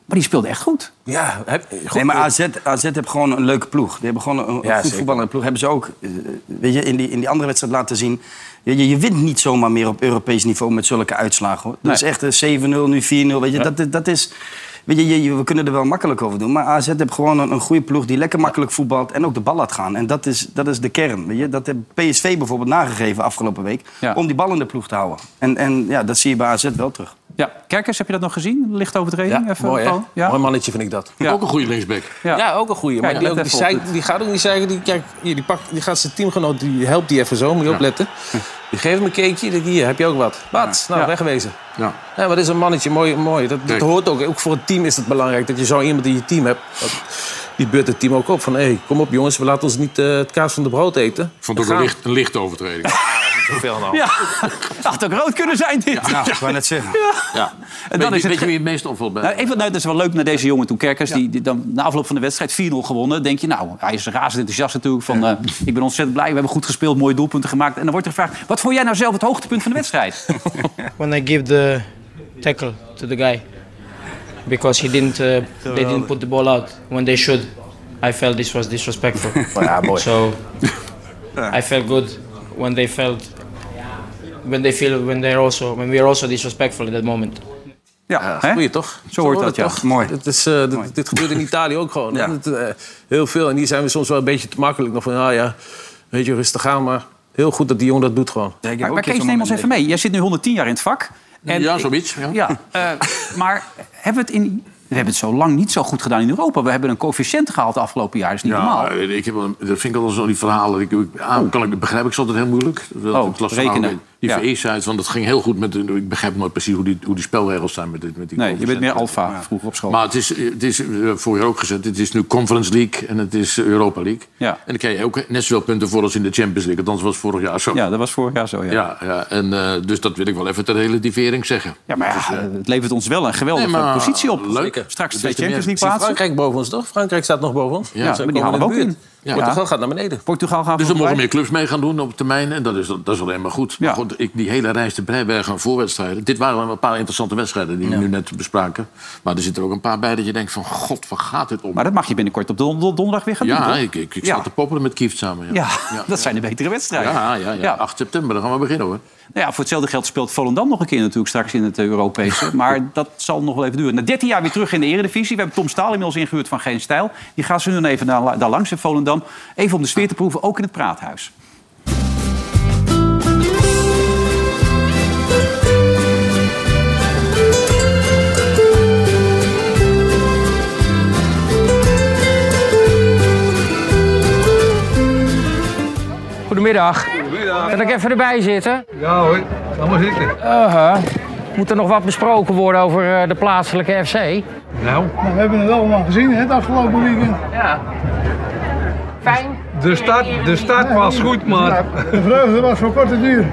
S2: Maar die speelde echt goed.
S4: Ja, heb, goed. eh,
S5: Nee, maar AZ, AZ heeft gewoon een leuke ploeg. Die hebben gewoon een, een
S4: Ja,
S5: goed
S4: zeker.
S5: voetballende ploeg. Hebben ze ook eh, weet je, in, die, in die andere wedstrijd laten zien. Je, je, je wint niet zomaar meer op Europees niveau met zulke uitslagen. Hoor. Dat
S2: Nee.
S5: is echt een 7-0, nu 4-0. Weet je, dat, dat is, weet je, je- je- we kunnen er wel makkelijk over doen. Maar AZ heeft gewoon een, een goede ploeg die lekker makkelijk voetbalt. En ook de bal laat gaan. En dat is, dat is de kern. Weet je? Dat heeft PSV bijvoorbeeld nagegeven afgelopen week.
S2: Ja.
S5: Om die bal in de ploeg te houden. En, en ja, dat zie je bij AZ wel terug.
S2: Ja, Kerkers, heb je dat nog gezien? Licht
S4: Ja,
S2: overtreding? Even,
S4: mooi, hè?
S2: Paul? Ja?
S4: Mooi mannetje vind ik dat.
S2: Ja.
S3: Ook een goede linksback.
S2: Ja.
S4: Ja, ook een goede. Maar
S2: Kijk,
S4: die,
S2: let
S4: ook, die,
S2: even op.
S4: zei- die gaat ook niet zeggen. Die, kijk, hier, die, pakt, die gaat zijn teamgenoot, die helpt die even zo. Moet je opletten. Die geeft hem een keekje. die- Hier, heb je ook wat? Wat? Nou,
S2: Ja.
S4: wegwezen.
S3: Ja.
S4: Ja, maar dat is een mannetje. Mooi, mooi. Dat, dat
S3: Kijk.
S4: hoort ook. Ook voor het team is het belangrijk dat je zo iemand in je team hebt. Dat, die beurt het team ook op. Van, hé, hey, kom op jongens. We laten ons niet eh, het kaas van de brood eten.
S3: Ik vond het ook een, licht, een lichte overtreding.
S2: Ja, <laughs> had ook rood kunnen zijn dit.
S5: Nou, ik wou net zeggen.
S3: Ja.
S2: En
S3: En
S2: dan
S3: dan weet,
S2: is het
S3: je- weet
S2: ge-
S3: je wie het meest opvalt
S2: <laughs>
S3: bij?
S2: Nou, ik vind, nou, dat is wel leuk naar deze jongen toe. Kerkers, die, die dan na afloop van de wedstrijd 4-0 gewonnen. Denk je, nou, hij is razend enthousiast natuurlijk. Van, eh, ik ben ontzettend blij, we hebben goed gespeeld, mooie doelpunten gemaakt. En dan wordt er gevraagd, wat vond jij nou zelf het hoogtepunt van de
S4: <laughs>
S2: wedstrijd?
S11: when I give the tackle to the guy because he didn't uh, they didn't put the ball out when they should. I felt this was
S4: <laughs>
S11: disrespectful. So I felt good when they felt when they feel when they're also when we are also disrespectful in that moment.
S2: ja, hè?
S4: Goeie, toch?
S2: Zo hoort dat, ja.
S5: Mooi.
S4: Dit, is, eh, dit- dit gebeurt in Italië ook gewoon. hè? Dat, eh, heel veel. En hier zijn we soms wel een beetje te makkelijk. Nog van, ah ja, weet je, rustig aan. Maar heel goed dat die jongen dat doet gewoon.
S2: Maar, maar Kees, neem ons even mee. Jij zit nu 110 jaar in het vak. En
S3: ja,
S2: ik-
S3: zoiets. Ja.
S2: <laughs> Ja, eh, maar hebben we het in... We hebben het zo lang niet zo goed gedaan in Europa. We hebben een coëfficiënt gehaald de afgelopen jaar. Dat is niet normaal.
S3: Ja, ik heb, wel- dat vind ik altijd zo, die verhalen. Ik, ik, A, kan ik, begrijp ik ze altijd heel moeilijk. Dat,
S2: Oh,
S3: ik las
S2: rekenen.
S3: verhalen Die
S2: Ja.
S3: VE uit, want dat ging heel goed. Met, de- ik begrijp nooit precies hoe die, hoe die spelregels zijn met, dit, met die
S2: Nee, je bent meer
S3: coëfficiënten.
S2: alfa vroeger op school.
S3: Maar het is, het is eh, vorig jaar ook gezet. Het is nu Conference League en het is Europa League.
S2: Ja.
S3: En dan krijg je ook net zoveel punten voor als in de Champions League. Althans was het vorig jaar zo.
S2: ja, dat was vorig jaar zo, ja.
S3: Ja, ja, en, eh, dus dat wil ik wel even ter relativering zeggen.
S2: Ja, maar ja, het levert ons wel een geweldige
S3: Dus, eh, Nee, maar
S2: positie op.
S3: leuk.
S2: Straks
S3: Dat
S2: twee
S3: is er
S2: Champions
S3: meer.
S2: League plaatsen.
S4: Frankrijk boven ons, toch? Frankrijk staat nog boven ons.
S2: Ja,
S4: Ze
S2: maar die
S4: komen
S2: halen we ook
S4: de buurt.
S2: in. Ja.
S4: Portugal gaat naar beneden.
S2: Portugal gaan
S3: Dus
S2: we
S3: er mogen
S2: voorbij.
S3: meer clubs mee gaan doen op termijn. En dat is, dat is alleen maar goed.
S2: Ja.
S3: Maar goed, ik, die hele reis te Breibergen aan voorwedstrijden. Dit waren wel een paar interessante wedstrijden die we nu net bespraken. Maar er zitten er ook een paar bij dat je denkt van... God, waar gaat dit om?
S2: Maar dat mag je binnenkort op don- don- donderdag weer gaan doen.
S3: ja,
S2: toch?
S3: ik, ik, ik
S2: Ja.
S3: zat te poppelen met Kieft samen. Ja.
S2: Ja,
S3: Ja.
S2: dat zijn de betere wedstrijden.
S3: Ja, ja,
S2: <laughs>
S3: ja.
S2: Ja.
S3: 8 september, dan gaan we beginnen hoor.
S2: Nou ja, voor hetzelfde geld speelt Volendam nog een keer natuurlijk straks in het eh,
S3: <laughs>
S2: Europese. Maar dat zal nog wel even duren. Na 13 jaar weer terug in de Eredivisie. We hebben Tom Staal inmiddels ingehuurd van Geen Stijl. Die gaan ze nu even daar, daar langs in Volendam. Even om de sfeer te proeven, ook in het Praathuis.
S12: Thank you. Goedemiddag. Kan ik even erbij zitten? Ja hoor, allemaal zitten. Moet er nog wat besproken worden over eh, de plaatselijke FC? Nou.
S13: we hebben het allemaal gezien hè, het afgelopen weekend.
S12: Ja. Fijn.
S14: De start, de start was goed, maar...
S13: De vreugde was voor korte duur.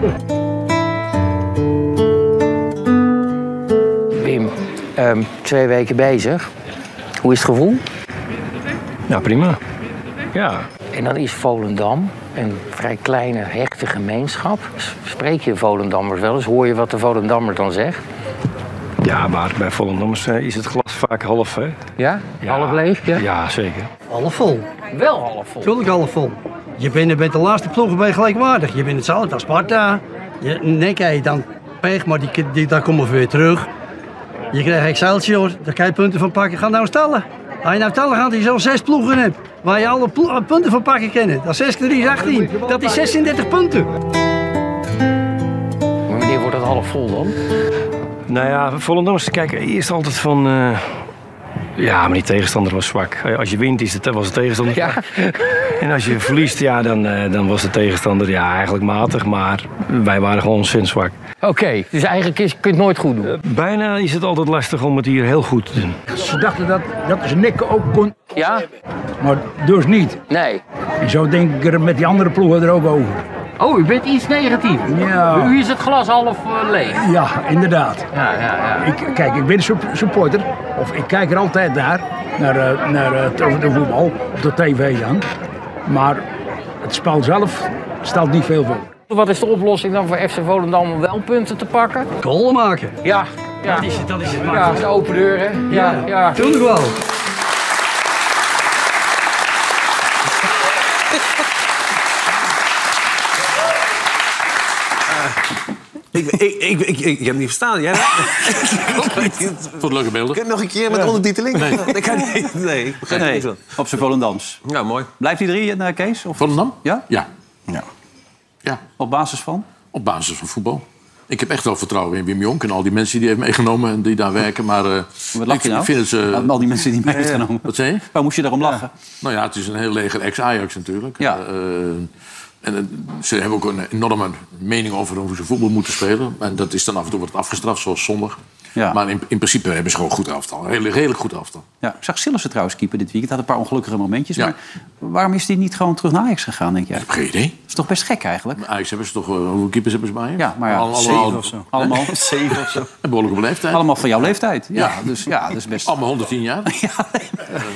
S12: Wim, ehm, twee weken bezig. Hoe is het gevoel? Nou, prima. Ja. En dan is Volendam een vrij kleine, hechte gemeenschap. S- Spreek je Volendammers wel eens? Hoor je wat de Volendammer dan zegt?
S15: Ja, maar bij Vollendammers eh, is het glas vaak half, hè?
S12: Ja? Half leeg? Ja,
S15: zeker.
S16: Half vol.
S12: Wel half vol.
S16: Tuurlijk half vol. Je bent er met de laatste ploegen bij gelijkwaardig. Je bent hetzelfde als Sparta. Je, nee, kijk, dan pech, maar die, die, daar komen we weer terug. Je krijgt Excelsior, daar kan je punten van pakken. Ga nou stellen. Als je nou tellen gaat, dat je zo'n zes ploegen hebt. Waar je alle plo- eh, punten van pakken kennen. Dat is 6 keer 3 is 18. Dat is 36 punten.
S12: Maar wanneer wordt het half vol dan?
S15: Nou ja, Vollendammers kijken eerst altijd van... eh, ja, maar die tegenstander was zwak. Eh, Als je wint, is het, was de tegenstander zwak. En als je verliest, ja, dan, eh, dan was de tegenstander ja, eigenlijk matig. Maar wij waren gewoon ontzettend zwak.
S12: Oké, dus eigenlijk is, kun je het nooit goed doen.
S15: Bijna is het altijd lastig om het hier heel goed te doen.
S17: Ze dachten dat, dat ze nikken ook kon.
S12: Ja?
S17: Maar dus niet.
S12: Nee.
S17: En zo denk ik er met die andere ploegen er ook over.
S12: Oh, u bent iets negatief.
S17: Ja.
S12: Bij U is het glas half eh, leeg.
S17: Ja, inderdaad.
S12: Ja, ja, ja.
S17: Ik, kijk, ik ben sup- supporter. Of ik kijk er altijd naar. Naar, eh, naar eh, het- de voetbal. Op de tv dan. Maar het spel zelf stelt niet veel voor.
S12: Wat is de oplossing dan voor FC Volendam om wel punten te pakken?
S16: Goal maken.
S12: Ja. ja. Dat, is,
S16: dat is het
S12: Ja, dat is de open deur, hè? Ja, ja.
S16: Tuurlijk wel.
S9: Ik, ik, ik, ik, ik heb het niet verstaan. Jij
S4: <laughs>
S3: Tot leuke beelden.
S9: Nog een keer met
S3: Ja.
S9: ondertiteling?
S3: Nee.
S9: Dat kan niet. Nee, ik begrijp
S2: Nee,
S9: het niet.
S2: op zijn Volendams.
S9: Ja, mooi.
S2: Blijft die drie, eh, Kees? Of...
S3: Volendam?
S2: Ja?
S3: Ja.
S2: ja.
S3: Ja.
S2: Op basis van?
S3: Op basis van voetbal. Ik heb echt wel vertrouwen in Wim Jonk en al die mensen die hij heeft meegenomen en die daar werken. Maar eh,
S2: Wat lach
S3: ik
S2: je nou?
S3: vind het ze...
S2: Al die mensen die mij hebben genomen.
S3: Wat zei je?
S2: Waar moest je daarom lachen?
S3: Nou ja, het is een heel leger ex-Ajax natuurlijk. Ja. en eh, ze hebben ook een enorme mening over hoe ze voetbal moeten spelen. En dat is dan af en toe wordt het afgestraft, zoals zondag.
S2: Ja.
S3: Maar in, in principe hebben ze gewoon een goed elftal. Een hele- redelijk goed elftal.
S2: Ja, ik zag Sillissen trouwens keeper dit weekend. Had een paar ongelukkige momentjes. Maar waarom is hij niet gewoon terug naar Ajax gegaan, denk jij? Ik heb
S3: geen idee.
S2: Dat is toch best gek eigenlijk?
S3: Ajax hebben ze toch... eh, hoeveel keepers hebben ze bij Ja,
S2: maar ja, zeven of zo. Allemaal.
S3: Zeven of zo. En behoorlijk op leeftijd.
S2: Allemaal van jouw leeftijd. Ja,
S3: Ja.
S2: Dus, ja dat is
S3: <laughs>
S2: best...
S3: Allemaal 110 jaar.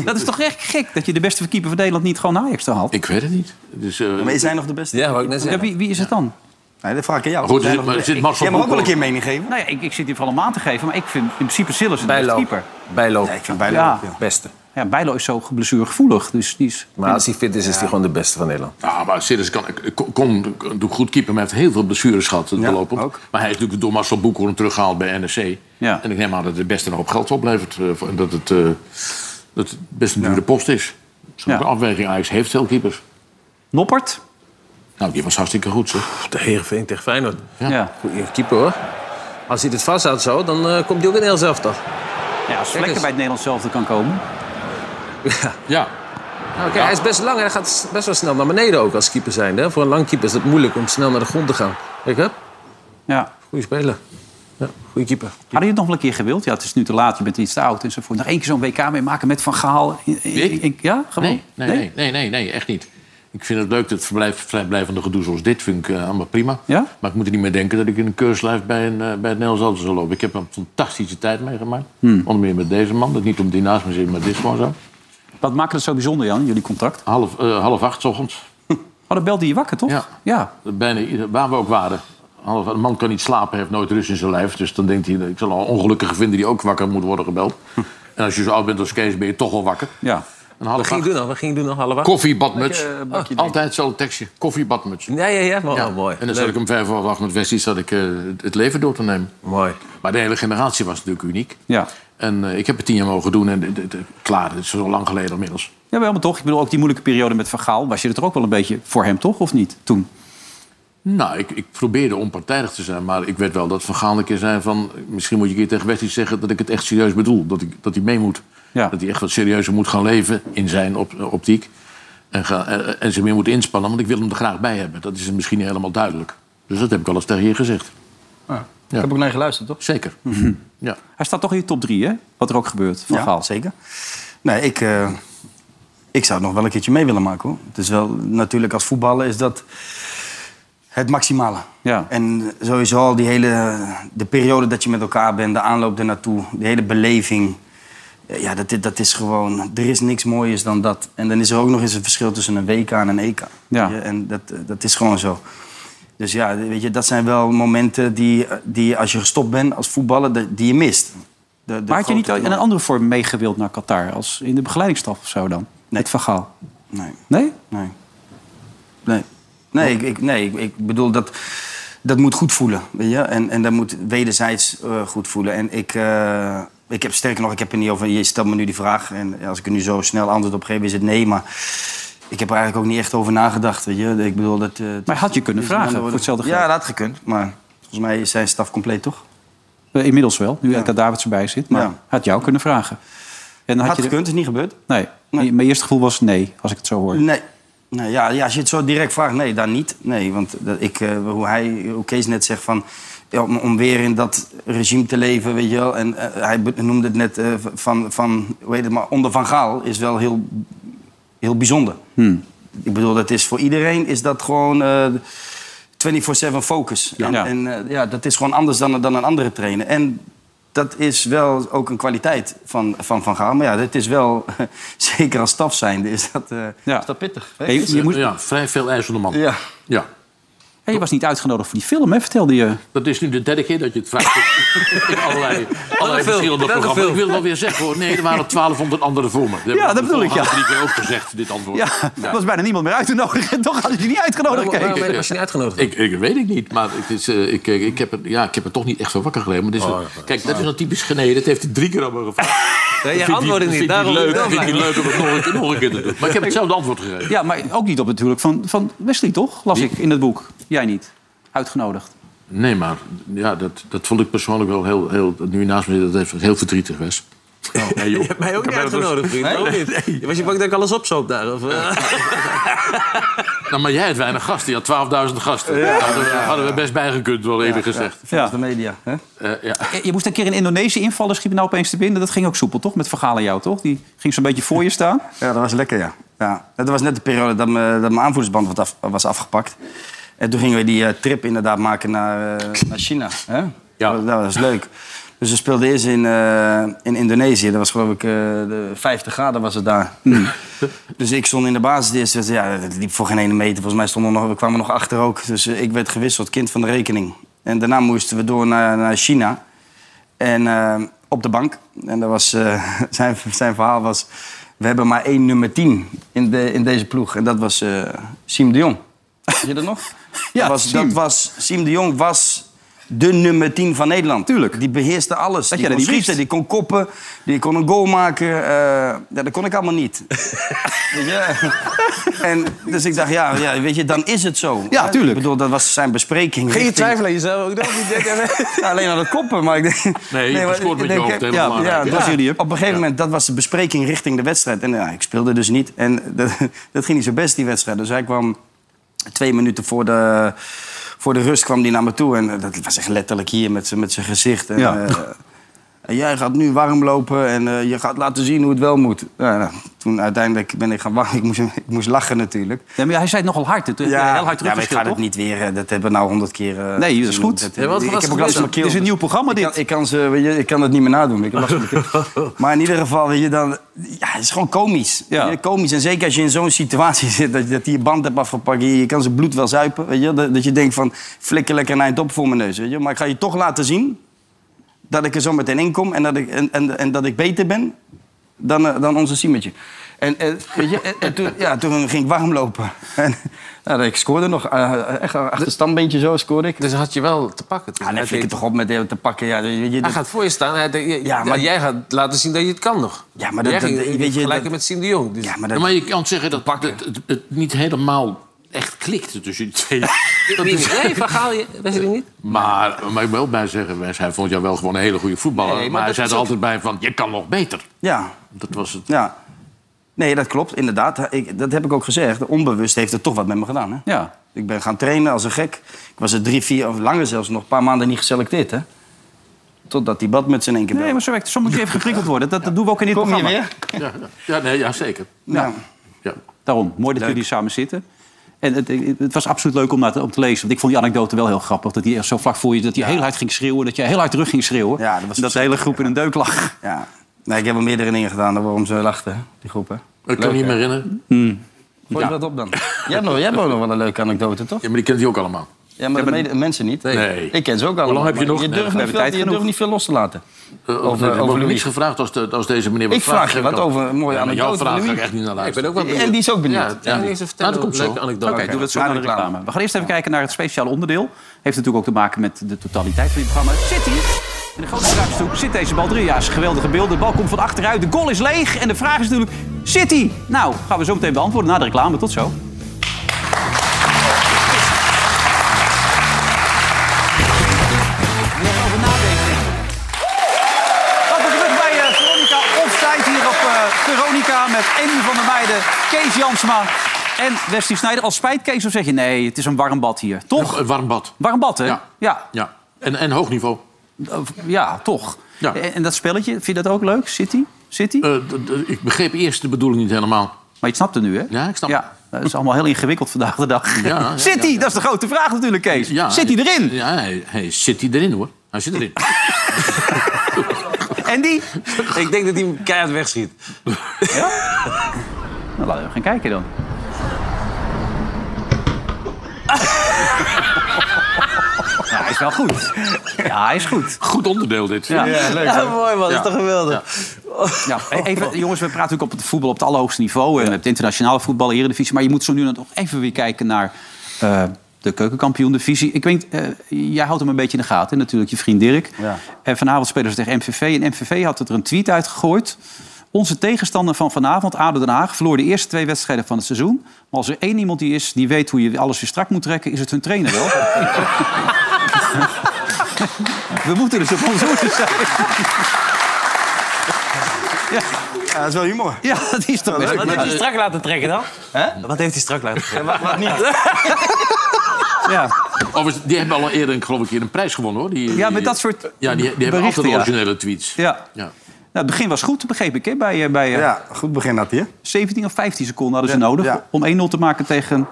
S2: Dat is toch echt gek dat je de beste keeper van Nederland niet gewoon naar Ajax te haalt?
S3: Ik weet het niet. Dus, eh,
S5: Maar is hij nog de beste?
S3: Ja, wou ik net zeggen.
S2: wie, wie is het dan?
S5: Nee, dat vraag ik aan jou.
S3: Goed,
S5: Is hij
S3: zit-
S5: nog
S3: maar
S5: de-
S3: zit
S5: Ik-
S3: Max van
S5: Jij mag ook wel een
S3: Broekhorst?
S5: keer mening geven.
S2: Nee, Nou ik, ik zit hier vooral om aan te geven. Maar ik vind in principe Sillissen de beste
S5: Bijlo.
S2: keeper.
S5: Bijlo.
S2: Nee, ik vind
S5: Bijlo
S2: ja.
S5: ook, ja.
S2: beste. Ja, Bijlo is zo geblessuregevoelig. Dus die is...
S4: Maar als hij fit is, is hij gewoon de beste van Nederland.
S3: Ja, Nou, maar Sidders kan, kon, kon, doet goed keeper, maar hij heeft heel veel blessures gehad het doorlopend. Maar hij is natuurlijk door Marcel Boekhoorn teruggehaald bij NEC.
S2: Ja.
S3: En ik neem aan dat het het beste nog op geld oplevert. eh, voor- En dat het, eh, dat het best een dure post is. Zo'n afweging, Ajax heeft veel keepers.
S2: Noppert?
S3: Nou, die was hartstikke goed, zeg.
S4: De Heerenveen tegen Feyenoord.
S2: Ja.
S4: Goeie keeper, hoor. Als hij dit vasthoudt zo, dan eh, komt hij ook in heel zelf toch?
S2: Ja, als Vlekken bij het Nederlands zelfde kan komen.
S3: Ja.
S4: Nou, kijk, Hij is best lang. Hij gaat best wel snel naar beneden ook als keeper zijn. Hè? Voor een lang keeper is het moeilijk om snel naar de grond te gaan. Kijk, hup.
S2: Ja.
S4: Goeie speler. Ja, goeie keeper.
S2: Hadden je het nog wel een keer gewild? Ja, het is nu te laat, je bent iets te oud enzovoort. Nog één keer zo'n WK meemaken met Van Gaal. In- in- in- ja, gewoon?
S3: Nee, nee, nee, nee, nee, nee, echt niet. Ik vind het leuk, dat verblijf, vrijblijvende gedoe zoals dit vind ik eh, allemaal prima.
S2: Ja?
S3: Maar ik moet er niet meer denken dat ik in een keurslijf bij, een, eh, bij het Nederlands Auto zal lopen. Ik heb een fantastische tijd meegemaakt.
S2: Hmm.
S3: Onder meer met deze man. Dat niet om die naast me zit, maar dit is gewoon zo.
S2: Wat maakt het zo bijzonder, Jan, jullie contact?
S3: Half, eh, half acht 's ochtends.
S2: Oh, dan belde je wakker, toch?
S3: Ja.
S2: ja.
S3: Bijna ieder- waar we ook waren. Half, een man kan niet slapen, heeft nooit rust in zijn lijf. Dus dan denkt hij, ik zal al ongelukkigen vinden die ook wakker moet worden gebeld. En als je zo oud bent als Kees, ben je toch wel wakker.
S2: Hm. Ja.
S3: Een half
S4: Wat ging
S3: acht.
S4: je doen dan? Wat ging je doen dan? Half acht?
S3: Koffie, badmuts.
S4: Lekker, eh, bakje
S3: Ah,
S4: ding.
S3: Altijd hetzelfde tekstje. Koffie, badmuts.
S4: Ja, ja, ja. Maar,
S3: Ja.
S4: oh, mooi.
S3: En dan zat ik om vijf of acht met Westies dat ik eh, het- het leven door te nemen.
S4: Mooi.
S3: Maar de hele generatie was natuurlijk uniek.
S2: Ja.
S3: En eh, ik heb het tien jaar mogen doen en dit- dit- dit- klaar, het is zo lang geleden inmiddels.
S2: Ja, wel, maar toch. Ik bedoel, ook die moeilijke periode met Van Gaal... was je er ook wel een beetje voor hem, toch? Of niet, toen?
S3: Nou, ik, ik probeerde onpartijdig te zijn, maar ik weet wel dat Van Gaal een keer zei van... misschien moet je een keer tegen Westies zeggen dat ik het echt serieus bedoel. Dat, ik, dat hij mee moet. Dat hij echt wat serieuzer moet gaan leven in zijn op, optiek. En, ga, eh, en zich meer moet inspannen, want ik wil hem er graag bij hebben. Dat is misschien niet helemaal duidelijk. Dus dat heb ik al eens tegen je gezegd.
S5: Ik heb ook naar je geluisterd, toch?
S3: Zeker.
S2: Mhm.
S3: Ja.
S2: Hij staat toch in je top 3, hè? Wat er ook gebeurt van
S5: ja,
S2: Gaal.
S5: zeker. Nee, ik, eh, ik zou het nog wel een keertje mee willen maken, hoor. Het is wel... Natuurlijk, als voetballer is dat het maximale.
S2: Ja.
S5: En sowieso al die hele... De periode dat je met elkaar bent, de aanloop ernaartoe, de hele beleving... Eh, Ja, dat, dat is gewoon... Er is niks mooiers dan dat. En dan is er ook nog eens een verschil tussen een WK en een EK.
S2: Ja.
S5: Weet je, En dat, eh, dat is gewoon zo. Dus ja, weet je, dat zijn wel momenten die, eh, die als je gestopt bent als voetballer, dat- die je mist. De, de
S2: maar had je niet
S5: grote-
S2: in een andere vorm meegewild naar Qatar? Als in de begeleidingsstaf of zo dan? Met Van Gaal?
S5: Nee.
S2: Nee?
S5: Nee. Nee, nee, ik, ik, nee ik, ik bedoel, dat, dat moet goed voelen. Weet je? En, en dat moet wederzijds eh, goed voelen. En ik, eh, ik heb sterker nog, ik heb er niet over. Je stelt me nu die vraag. En als ik er nu zo snel antwoord op geef, is het nee. Maar ik heb er eigenlijk ook niet echt over nagedacht. Weet je? Ik bedoel, dat, maar
S2: had je kunnen vragen voor hetzelfde
S5: Ja,
S2: geld?
S5: dat had gekund. Maar volgens mij is zijn staf compleet, toch?
S2: Eh, Inmiddels wel, nu Edgar Davids erbij zit. Maar had jou kunnen vragen. En
S5: Had
S2: je de-
S5: gekund, is niet gebeurd.
S2: Nee. Mijn eerste gevoel was nee, als ik het zo hoor.
S5: Nee. nee ja, ja, als je het zo direct vraagt, nee, dan niet. Nee, want dat ik, eh, hoe, hij, hoe Kees net zegt van... ja, om, om weer in dat regime te leven, weet je wel. En eh, hij be- noemde het net eh, van, van... Hoe heet het maar? Onder Van Gaal is wel heel, heel bijzonder.
S2: Hmm.
S5: Ik bedoel, dat is voor iedereen is dat gewoon... eh, 24-7 focus.
S2: Ja.
S5: En,
S2: Ja.
S5: en eh, ja, dat is gewoon anders dan, dan een andere trainer. En dat is wel ook een kwaliteit van Van, van Gaal. Maar ja, dat is wel, <laughs> zeker als staf zijnde, is dat, eh,
S2: Ja.
S5: is dat pittig.
S2: Hey, je moet-
S3: ja, vrij veel ijzende man.
S5: Ja.
S3: ja.
S2: En je was niet uitgenodigd voor die film, hè? vertelde je.
S3: Dat is nu de derde keer dat je het vraagt. in allerlei,
S2: film?
S3: allerlei verschillende
S2: Welke
S3: programma's.
S2: film?
S3: Ik wil wel weer zeggen hoor. Nee, er waren 1200 andere voor me.
S2: Ja, dat bedoel ik, ja.
S3: Ik drie keer ook gezegd, dit antwoord.
S2: Ja, er was bijna niemand meer uit te nodigen. En toch hadden ze je niet uitgenodigd. Kees.
S3: niet uitgenodigd? Ik, ik weet het niet, maar het is, eh, ik, ik, ik, heb er, ja, ik heb er toch niet echt van wakker gelegen. Maar dit is,
S9: Oh, ja.
S3: kijk, dat is nou typisch geneden. Dat heeft hij drie keer aan me gevraagd.
S9: Nee, jij
S3: Dat vindt
S9: antwoordde
S3: hij-
S9: niet,
S3: dat
S9: daarom-
S3: Vindt hij leuk,
S9: daarom
S3: dat vindt hij
S9: blijf
S3: leuk
S9: ik.
S3: om het nog een keer, nog een keer te doen. Maar ik heb hetzelfde antwoord gegeven.
S2: Ja, maar ook niet op natuurlijk van, van Wesley, toch? Las ik in het boek. Jij niet. Uitgenodigd.
S3: Nee, maar ja, dat, dat vond ik persoonlijk wel heel, heel... Nu je naast me zit, dat heeft heel verdrietig was.
S9: <laughs>
S3: Nee, joh.
S9: Je hebt mij ook
S3: Ik
S9: niet
S3: heb wel
S9: uitgenodigd,
S3: eens-
S9: vriend.
S3: Nee?
S9: Ook niet. Was je bang dat ik alles opzoop daar? Of, eh?
S3: <laughs> Nou, maar jij had weinig gasten. Je had 12.000 gasten.
S9: Ja.
S3: Daar hadden, we- hadden we best bijgekund, wel even gezegd.
S5: Volgens de media. Hè?
S3: Eh, ja.
S2: Je- Je moest een keer in Indonesië invallen, schiep je nou opeens te binnen. Dat ging ook soepel, toch? Met verhalen jou, toch? Die ging zo'n beetje voor je staan.
S5: Ja, dat was lekker, ja. ja. Dat was net de periode dat, me, dat mijn aanvoerdersband wat af- was afgepakt. En toen gingen we die eh, trip inderdaad maken naar, eh, naar China. Hè? Ja. Dat, dat was leuk. Dus we speelden eerst in, eh, in Indonesië. Dat was geloof ik eh, de 50 graden was het daar. <laughs> dus ik stond in de basis de eerste wedstrijd. Ja, het liep voor geen ene meter. Volgens mij stonden we nog, we kwamen nog achter ook. Dus eh, ik werd gewisseld, kind van de rekening. En daarna moesten we door naar, naar China. En eh, op de bank. En dat was, eh, <laughs> zijn, zijn verhaal was... We hebben maar één nummer 10 in, de, in deze ploeg. En dat was eh Siem de Jong. Weet je dat nog?
S2: Ja,
S5: dat was,
S2: Siem.
S5: Dat was, Siem de Jong was de nummer 10 van Nederland. Tuurlijk. Die beheerste alles.
S2: Dat
S5: die
S2: jij
S5: kon
S2: dat niet
S5: schieten, die kon koppen, die kon een goal maken. eh, ja, dat kon ik allemaal
S2: <laughs>
S5: niet. ja. En, dus ik dacht, ja, ja, weet je, dan is het zo. Ja, tuurlijk. Ik bedoel, dat was zijn bespreking.
S9: Geen je
S5: richting-
S9: twijfelen aan jezelf ook <laughs> dan?
S5: ja, alleen aan het koppen, maar ik denk...
S9: Nee, je
S5: maar
S9: scoort met
S5: ik
S9: je
S5: denk-
S9: hoofd, heel
S5: Ja,
S9: belangrijk.
S5: ja, dat was
S9: Ja.
S5: jullie. Op een gegeven moment, dat was de bespreking richting de wedstrijd. En ja, ik speelde dus niet. En dat, <laughs> dat ging niet zo best, die wedstrijd. Dus hij kwam twee minuten voor de, voor de rust kwam die naar me toe. En eh, dat was echt letterlijk hier met zijn met zijn gezicht. En,
S2: Ja.
S5: eh, en jij gaat nu warm lopen en eh, je gaat laten zien hoe het wel moet. Nou, nou, toen uiteindelijk ben ik gaan wachten. <laughs> Ik moest, ik moest lachen natuurlijk.
S2: Ja, maar hij zei het nogal hard. hè? Toen heb je heel hard
S5: ja, maar ik
S2: teruggespeeld,
S5: ga het
S2: toch?
S5: niet weer. eh, Dat hebben we nou honderd keer. eh,
S2: Nee, dat is
S5: gezien.
S2: goed.
S5: Dat-
S2: Ja, wat
S5: ik
S2: was
S5: heb
S2: het
S5: ook last van mijn
S2: dit?
S5: keel.
S2: Dit is een nieuw programma,
S5: Ik kan, ik kan, ze, weet je, ik kan het niet meer nadoen. Ik heb last van mijn keel. maar in ieder geval, weet je, dan, ja, het is gewoon komisch. Weet je, komisch. En zeker als je in zo'n situatie <laughs> zit, dat, je- dat die je band hebt afgepakt. Je, je kan zijn bloed wel zuipen. Weet je, dat, dat je denkt van, flikker lekker naar een top voor mijn neus. Weet je. Maar ik ga je toch laten zien dat ik er zo meteen in kom en dat ik, en, en, en dat ik beter ben dan, eh, dan onze Siemetje. En, en, weet je, en, en toen, ja, toen ging ik warm lopen. <laughs> En, nou, ik scoorde nog. eh, echt achter het standbeentje zo scoorde ik.
S9: Dus had je wel te pakken.
S5: Ah, nee, flikker toch op met hem te pakken. Ja, weet je,
S9: Hij
S5: dat-
S9: gaat voor je staan. Hij, denkt, je-
S5: Ja,
S9: ja,
S5: maar-
S9: maar jij gaat laten zien dat je het kan nog.
S5: Ja, maar dat-
S9: jij
S5: dat-
S9: ging
S5: weet je,
S9: vergelijken
S5: dat-
S9: met Siem de Jong. Dus. Ja,
S5: maar
S3: Ja, maar je kan zeggen dat het, het, het niet helemaal echt klikte tussen die twee. Dat
S9: Wie
S3: is-
S9: schreef? Waar ga je? Weet je die niet?
S3: Maar, maar ik wil bij zeggen, Wes, hij vond jou wel gewoon een hele goede voetballer.
S5: Nee, maar
S3: maar hij
S5: dat
S3: zei
S5: is
S3: er
S5: ook-
S3: altijd bij van, je kan nog beter.
S5: Ja.
S3: Dat was het.
S5: Ja. Nee, dat klopt, inderdaad. Ik, dat heb ik ook gezegd. Onbewust heeft het toch wat met me gedaan. Hè?
S2: Ja.
S5: Ik ben gaan trainen als een gek. Ik was er drie, vier, of langer zelfs nog, een paar maanden niet geselecteerd. Hè? Totdat die bad met zijn één keer
S2: Nee, maar zo, werkt, het. zo moet je even geprikkeld worden. Dat, dat doen we ook in dit
S5: Kom je
S2: programma.
S5: weer?
S3: Ja, ja, nee, ja zeker.
S2: Ja. Daarom, mooi dat jullie samen zitten. En het, het was absoluut leuk om, naar te, om te lezen. Want ik vond die anekdote wel heel grappig. Dat hij echt zo vlak voor je dat hij heel hard ging schreeuwen. Dat je heel hard terug ging schreeuwen.
S5: Ja, dat was
S2: dat de hele groep in een deuk lag.
S5: Ja. Nee, ik heb er meerdere dingen gedaan dan waarom ze lachten, hè, die groep. Hè?
S3: Ik kan me niet meer herinneren.
S5: Gooi je
S3: Ja.
S5: dat op dan. <laughs> Jij hebt, nog, jij hebt ook nog wel een leuke anekdote, toch? Ja,
S3: maar die kent hij ook allemaal.
S5: Ja, maar de mede- mensen niet.
S3: Nee.
S5: Ik ken ze ook allemaal.
S3: Hoe lang heb je
S5: maar
S3: nog?
S5: Je
S3: Nee,
S5: durft,
S3: we
S5: niet,
S3: hebben tijd
S5: veel, je durft
S3: genoeg.
S5: niet veel los te laten.
S3: Eh,
S5: Over-
S3: over,
S5: over
S3: over
S5: Louis.
S3: niets gevraagd als, de, als deze meneer wat
S5: Ik vraag je
S3: vraagt,
S5: wat
S3: dan-
S5: over een mooie
S3: Ja, maar Jouw
S5: anekdote van
S3: vraag ga ik
S5: Louis.
S3: echt niet naar luisteren.
S5: Ik ben ook wel benieuwd. En die is ook benieuwd. Ja, Nou, ja, die is even
S2: Maar
S5: vertellen over leuke anekdote.
S2: Oké, doen we het zo
S5: Na
S2: naar
S5: de
S2: de reclame.
S5: reclame.
S2: We gaan eerst even kijken naar het speciale onderdeel. Heeft natuurlijk ook te maken met de totaliteit van dit programma. Zit hier. In de grote vraagstuk zit deze bal drie. Ja, is geweldige beelden. De bal komt van achteruit. De goal is leeg. En de vraag is natuurlijk, zit hij? Nou, gaan we zo meteen beantwoorden na de reclame. Tot zo. Welkom terug bij eh, Veronica Offside hier op eh, Veronica met Andy van der Meijden, Kees Jansma en Westie Snijder. Als spijt, Kees, of zeg je nee, het is een warm bad hier, toch?
S3: Een warm bad.
S2: Warm bad, hè? Ja. Ja,
S3: Ja, en, en hoog niveau.
S2: toch. En, en dat spelletje, vind je dat ook leuk, City? City?
S3: Eh. ik begreep eerst de bedoeling niet helemaal.
S2: Maar je snapt het nu, hè?
S3: Ja, ik snap
S2: Ja, dat is allemaal heel ingewikkeld vandaag de dag.
S3: Ja, ja,
S2: City,
S3: ja, ja.
S2: dat is de grote vraag natuurlijk, Kees.
S3: Ja,
S2: zit hij erin?
S3: Ja, hij, hij zit hij erin hoor. Hij zit erin.
S2: En die?
S9: <laughs> Ik denk dat hij hem keihard wegschiet.
S2: Nou, laten we gaan kijken dan. <laughs> Ja, hij is wel goed. Ja, hij is goed.
S3: <laughs> Goed onderdeel dit.
S2: Ja,
S3: hè?
S2: Ja.
S3: Ja.
S2: Ja, even, jongens, we praten natuurlijk op het voetbal op het allerhoogste niveau. En het internationale voetbal, eredivisie. Maar je moet zo nu en dan toch even weer kijken naar eh, de keukenkampioen-divisie. Ik weet, eh, jij houdt hem een beetje in de gaten, hè, natuurlijk, je vriend Dirk. En vanavond spelen ze tegen MVV. En MVV had het er een tweet uitgegooid. Onze tegenstander van vanavond, ADO Den Haag, verloor de eerste twee wedstrijden van het seizoen. Maar als er één iemand die is die weet hoe je alles weer strak moet trekken, is het hun trainer <laughs> wel. We moeten dus op ons hoede zijn. Ja.
S5: dat is wel humor.
S2: <laughs> Ja, dat is toch best
S18: Wat heeft hij strak laten trekken dan?
S5: Wat heeft hij strak laten
S18: Wat, wat niet?
S2: Ja.
S3: Overigens, die hebben al eerder, geloof ik, hier een prijs gewonnen hoor. Die,
S2: Ja, met
S3: die-
S2: dat soort
S3: Ja, die, die hebben
S2: berichten,
S3: altijd
S2: ja.
S3: originele tweets.
S2: Ja.
S3: Ja.
S2: Nou, het begin was goed, begreep ik. Hè? Bij, eh, bij, ja,
S5: goed begin had hij.
S2: 17 of 15 seconden hadden ze nodig om 1-0 te maken tegen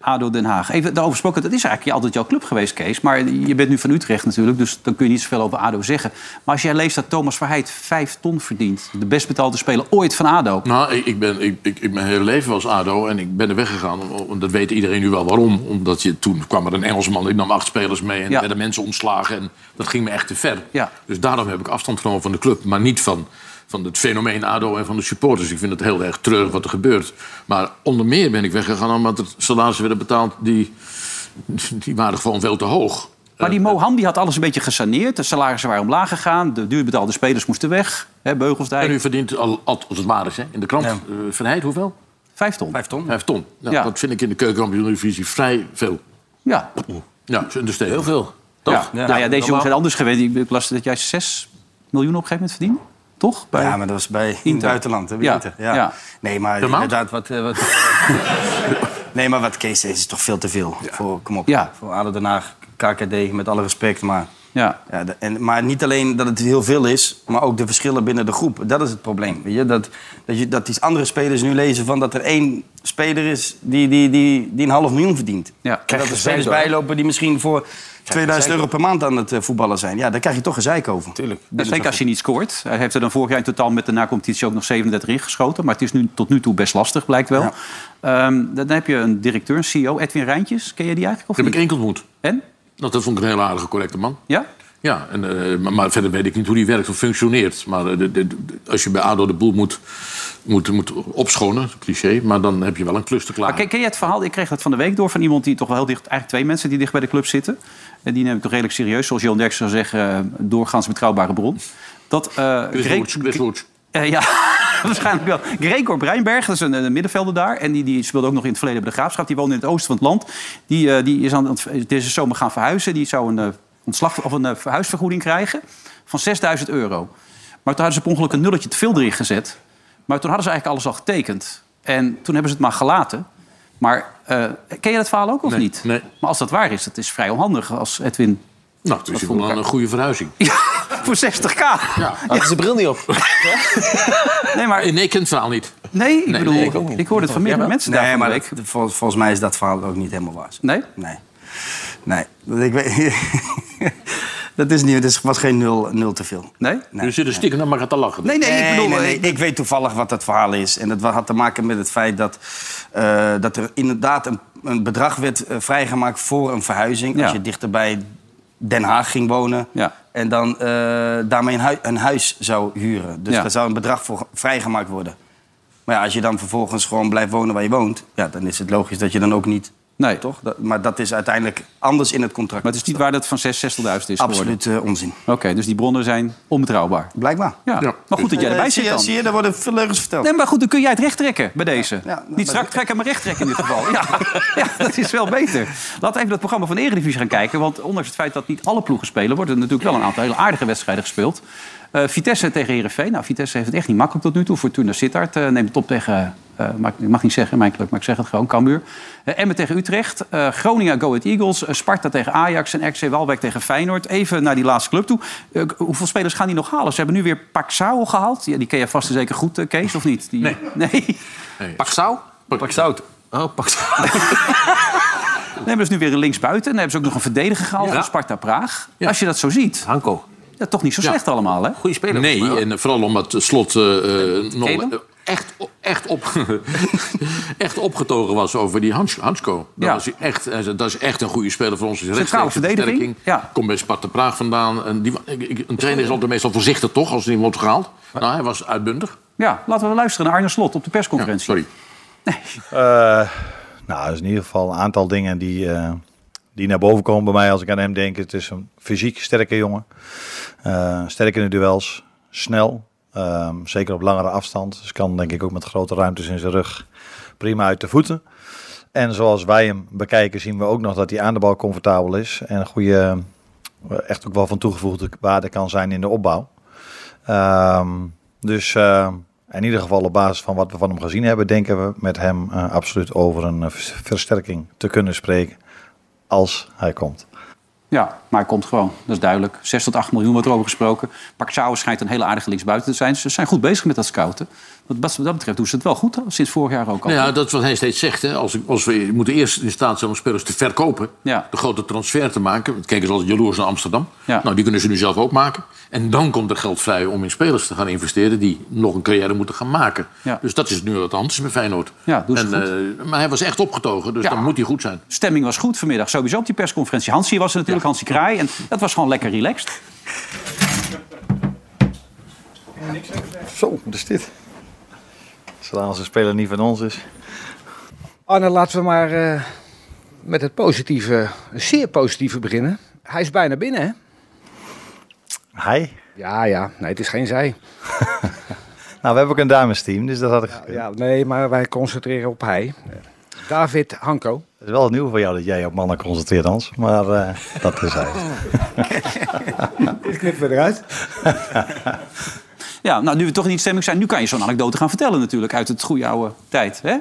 S2: ADO Den Haag. Even daarover gesproken, dat is eigenlijk altijd jouw club geweest, Kees. Maar je bent nu van Utrecht natuurlijk, dus dan kun je niet zoveel over ADO zeggen. Maar als jij leest dat Thomas Verheid 5 ton verdient... de best betaalde speler ooit van ADO...
S3: Nou, ik, ik ben, ik, ik, ik- mijn hele leven was ADO en ik ben er weggegaan. om- om- Dat weet iedereen nu wel waarom. Omdat je, toen kwam er een Engelsman, die nam acht spelers mee... en
S2: Ja.
S3: werden mensen ontslagen en dat ging me echt te ver.
S2: Ja.
S3: Dus daarom heb ik afstand genomen van de club. Maar niet van, van het fenomeen ADO en van de supporters. Ik vind het heel erg treurig wat er gebeurt. Maar onder meer ben ik weggegaan omdat er salarissen werden betaald... die, die waren gewoon veel te hoog.
S2: Maar die Mohan die had alles een beetje gesaneerd. De salarissen waren omlaag gegaan. De duurbetaalde spelers moesten weg. Hè, Beugelsdijk.
S3: En u verdient, al, al- als het waar is, hè, in de krant... eh Verheid, hoeveel?
S2: Vijf ton.
S5: Vijf ton.
S3: Vijf ton. Nou,
S2: Ja.
S3: Dat vind ik in de keukenkampioen-divisie vrij veel.
S2: Ja.
S3: Ja, dat is een understatement. Heel veel. Toch?
S2: Ja. Nou ja, deze jongens zijn anders geweest. Ik ik las dat jij 6 miljoen op een gegeven moment verdiende. Toch? Bij-
S5: Ja, maar dat was bij in het
S2: Inter.
S5: buitenland. Hè, bij
S2: Ja,
S5: Inter. Ja.
S2: ja.
S5: Nee, maar
S2: Per maand?
S5: inderdaad, wat... eh, wat nee, maar wat <laughs> Kees zegt is toch veel te veel. Voor, kom op,
S2: Ja.
S5: voor ADO Den Haag, KKD, met alle respect, maar...
S2: Ja.
S5: de- en, maar niet alleen dat het heel veel is, maar ook de verschillen binnen de groep. Dat is het probleem. Weet je? Dat, dat, je, dat die andere spelers nu lezen van dat er één speler is die, die, die, die een half miljoen verdient.
S2: Ja.
S5: En dat er spelers bijlopen die misschien voor 2000 euro per maand aan het eh, voetballen zijn. Ja, daar krijg je toch een zeik over. Tuurlijk.
S2: Ja, zeker als je niet scoort. Hij heeft er dan vorig jaar in totaal met de na-competitie ook nog 37 ingeschoten. Maar het is nu, tot nu toe best lastig, blijkt wel. Ehm, dan heb je een directeur, een CEO, Edwin Rijntjes. Ken je die eigenlijk? Of
S3: heb
S2: niet?
S3: ik één keer ontmoet.
S2: En?
S3: Nou, dat vond ik een heel aardige, correcte man.
S2: Ja?
S3: Ja, en, eh, maar, maar verder weet ik niet hoe die werkt of functioneert. Maar eh, de- de- de- als je bij ADO de boel moet, moet, moet opschonen, cliché... maar dan heb je wel een klus te klaar.
S2: Maar ken, ken je het verhaal? Ik kreeg dat van de week door van iemand die toch wel heel dicht... Eigenlijk twee mensen die dicht bij de club zitten. En die neem ik toch redelijk serieus. Zoals Johan Derks zou zeggen, eh, doorgaans betrouwbare bron. Dat, eh,
S3: Dus
S2: Greg- Eh, ja, <laughs> waarschijnlijk wel. Gregor Breinberg, dat is een, een middenvelder daar. En die, die speelde ook nog in het verleden bij de Graafschap. Die woonde in het oosten van het land. Die, eh, die is aan, het- deze zomer gaan verhuizen. Die zou een, eh, ontslag, of een eh, verhuisvergoeding krijgen van 6000 euro. Maar toen hadden ze per ongeluk een nulletje te veel erin gezet. Maar toen hadden ze eigenlijk alles al getekend. En toen hebben ze het maar gelaten. Maar eh, ken je dat verhaal ook of niet? Nee. Maar als dat waar is, dat is vrij onhandig als Edwin... <laughs>
S3: Nou, toen is het wel een goede verhuizing.
S2: Voor 60k. Ja,
S3: had zijn bril niet op.
S2: nee, maar...
S3: Nee, ik ken het verhaal niet.
S2: Nee, ik bedoel, ik, hoor het van meerdere mensen daar
S5: Nee,
S2: van de
S5: maar
S2: week.
S5: dat- vol- volgens mij is dat verhaal ook niet helemaal waar.
S2: Nee?
S5: Nee. Nee. Dat, ik weet, <laughs> dat is niet, dat is- was geen nul, nul te veel.
S2: Nee?
S5: Je zit
S3: er stiekem naar elkaar te lachen.
S5: Nee, nee, ik bedoel... eh,
S3: nee,
S2: eh,
S5: ik, ik weet toevallig wat dat verhaal is. En dat had te maken met het feit dat, eh, dat er inderdaad een, een bedrag werd eh, vrijgemaakt voor een verhuizing. Als je dichter bij Den Haag ging wonen. En dan eh, daarmee een, hui- een huis zou huren. Dus
S2: Ja.
S5: daar zou een bedrag voor vrijgemaakt worden. Maar ja, als je dan vervolgens gewoon blijft wonen waar je woont... Ja, dan is het logisch dat je dan ook niet...
S2: Nee.
S5: Toch? Dat- maar dat is uiteindelijk anders in het contract.
S2: Maar het is niet waar dat van 6 60.000 is geworden?
S5: Absoluut eh, onzin.
S2: Oké, dus die bronnen zijn onbetrouwbaar.
S5: Blijkbaar.
S2: Ja. Maar goed dat jij
S5: Eh,
S2: erbij
S5: zie
S2: zit
S5: je-
S2: dan.
S5: Zie je, daar worden veel leugens verteld.
S2: Nee, maar goed, dan kun jij het recht trekken bij deze.
S5: maar-
S2: Niet strak trekken, maar recht trekken in dit geval. Ja. ja, dat is wel beter. Laten we even dat programma van de Eredivisie gaan kijken. Want ondanks het feit dat niet alle ploegen spelen... worden er natuurlijk wel een aantal hele aardige wedstrijden gespeeld. Eh, Vitesse tegen Herenveen. Nou, Vitesse heeft het echt niet makkelijk tot nu toe. Fortuna Sittard eh, neemt het op tegen... eh, mag, ik mag niet zeggen, mijn club, maar ik zeg het gewoon. Cambuur. Eh, Emmen tegen Utrecht. eh, Groningen Go Ahead Eagles. eh, Sparta tegen Ajax. En RC Waalwijk tegen Feyenoord. Even naar die laatste club toe. Eh, k- hoeveel spelers gaan die nog halen? Ze hebben nu weer Paxao gehaald. Ja, die ken je vast en zeker goed, eh, Kees, of niet? Die... Nee. <laughs> nee.
S3: Paxau?
S5: Paxout.
S2: Oh, Paxau. nee, maar dat is dus nu weer een linksbuiten. En dan hebben ze ook nog een verdediger gehaald van Sparta Praag. Als je dat zo ziet.
S9: Hanko.
S2: Ja, toch niet zo slecht allemaal, hè?
S9: Goeie speler.
S3: Nee, en vooral omdat Slot eh, eh, nog
S2: hem?
S3: eh, echt, o- echt, op, <laughs> echt opgetogen was over die Hans, Hansko. Dat,
S2: Ja.
S3: was hij echt, hij zei, dat is echt een goede speler voor ons. Is
S2: Centrale
S3: rechtstreeks een
S2: verdediging,
S3: versterking. Komt bij Sparta Praag vandaan. En die, wa- ik- ik- een trainer is altijd meestal voorzichtig, toch? Als er iemand wordt gehaald. Nou, hij was uitbundig.
S2: Ja, laten we luisteren naar Arne Slot op de persconferentie.
S3: sorry.
S19: Eh, nou, dat is in ieder geval een aantal dingen die, eh, die naar boven komen bij mij als ik aan hem denk. Het is een fysiek sterke jongen. Eh, sterk in de duels. Snel. Ehm, zeker op langere afstand. Dus kan denk ik ook met grote ruimtes in zijn rug prima uit de voeten. En zoals wij hem bekijken zien we ook nog dat hij aan de bal comfortabel is. En een goede, eh, echt ook wel van toegevoegde waarde kan zijn in de opbouw. Ehm, dus eh, in ieder geval op basis van wat we van hem gezien hebben, denken we met hem eh, absoluut over een eh, vers- versterking te kunnen spreken als hij komt.
S2: Ja, maar hij komt gewoon. Dat is duidelijk. 6 tot 8 miljoen wordt erover gesproken. Paxao schijnt een hele aardige linksbuiten te zijn. Ze zijn goed bezig met dat scouten. Wat wat dat betreft doen ze het wel goed. Sinds vorig jaar ook al.
S3: Nou ja, dat is wat hij steeds zegt. Hè. Als, als we moeten eerst in staat zijn om spelers te verkopen.
S2: Ja.
S3: De grote transfer te maken. Want Kijk eens als jaloers naar Amsterdam.
S2: Ja.
S3: Nou, die kunnen ze nu zelf ook maken. En dan komt er geld vrij om in spelers te gaan investeren... die nog een carrière moeten gaan maken.
S2: Ja.
S3: Dus dat is nu wat anders met Feyenoord.
S2: Ja, doen ze
S3: en, eh, maar hij was echt opgetogen, dus
S2: Ja.
S3: dan moet hij goed zijn.
S2: Stemming was goed vanmiddag. Sowieso op die persconferentie. Hansie was er natuurlijk, Hansie Kraai. En dat was gewoon lekker relaxed.
S19: Zo, wat is dit? Zolang als een speler niet van ons is.
S4: Oh, nou,
S20: Arne, laten we maar eh, met het positieve, zeer positieve beginnen. Hij is bijna binnen, hè?
S19: Hij?
S20: Ja, ja. Nee, het is geen zij.
S19: Nou, we hebben ook een damesteam, dus dat had ik gekund.
S20: Ja, nee, maar wij concentreren op hij. David Hanko.
S19: Het is wel nieuw voor jou dat jij op mannen concentreert, Hans. Maar eh, dat is hij.
S20: Dit knippen we eruit.
S2: Ja, nou, nu we toch niet in stemming zijn, nu kan je zo'n anekdote gaan vertellen natuurlijk. Uit het goede oude tijd, hè?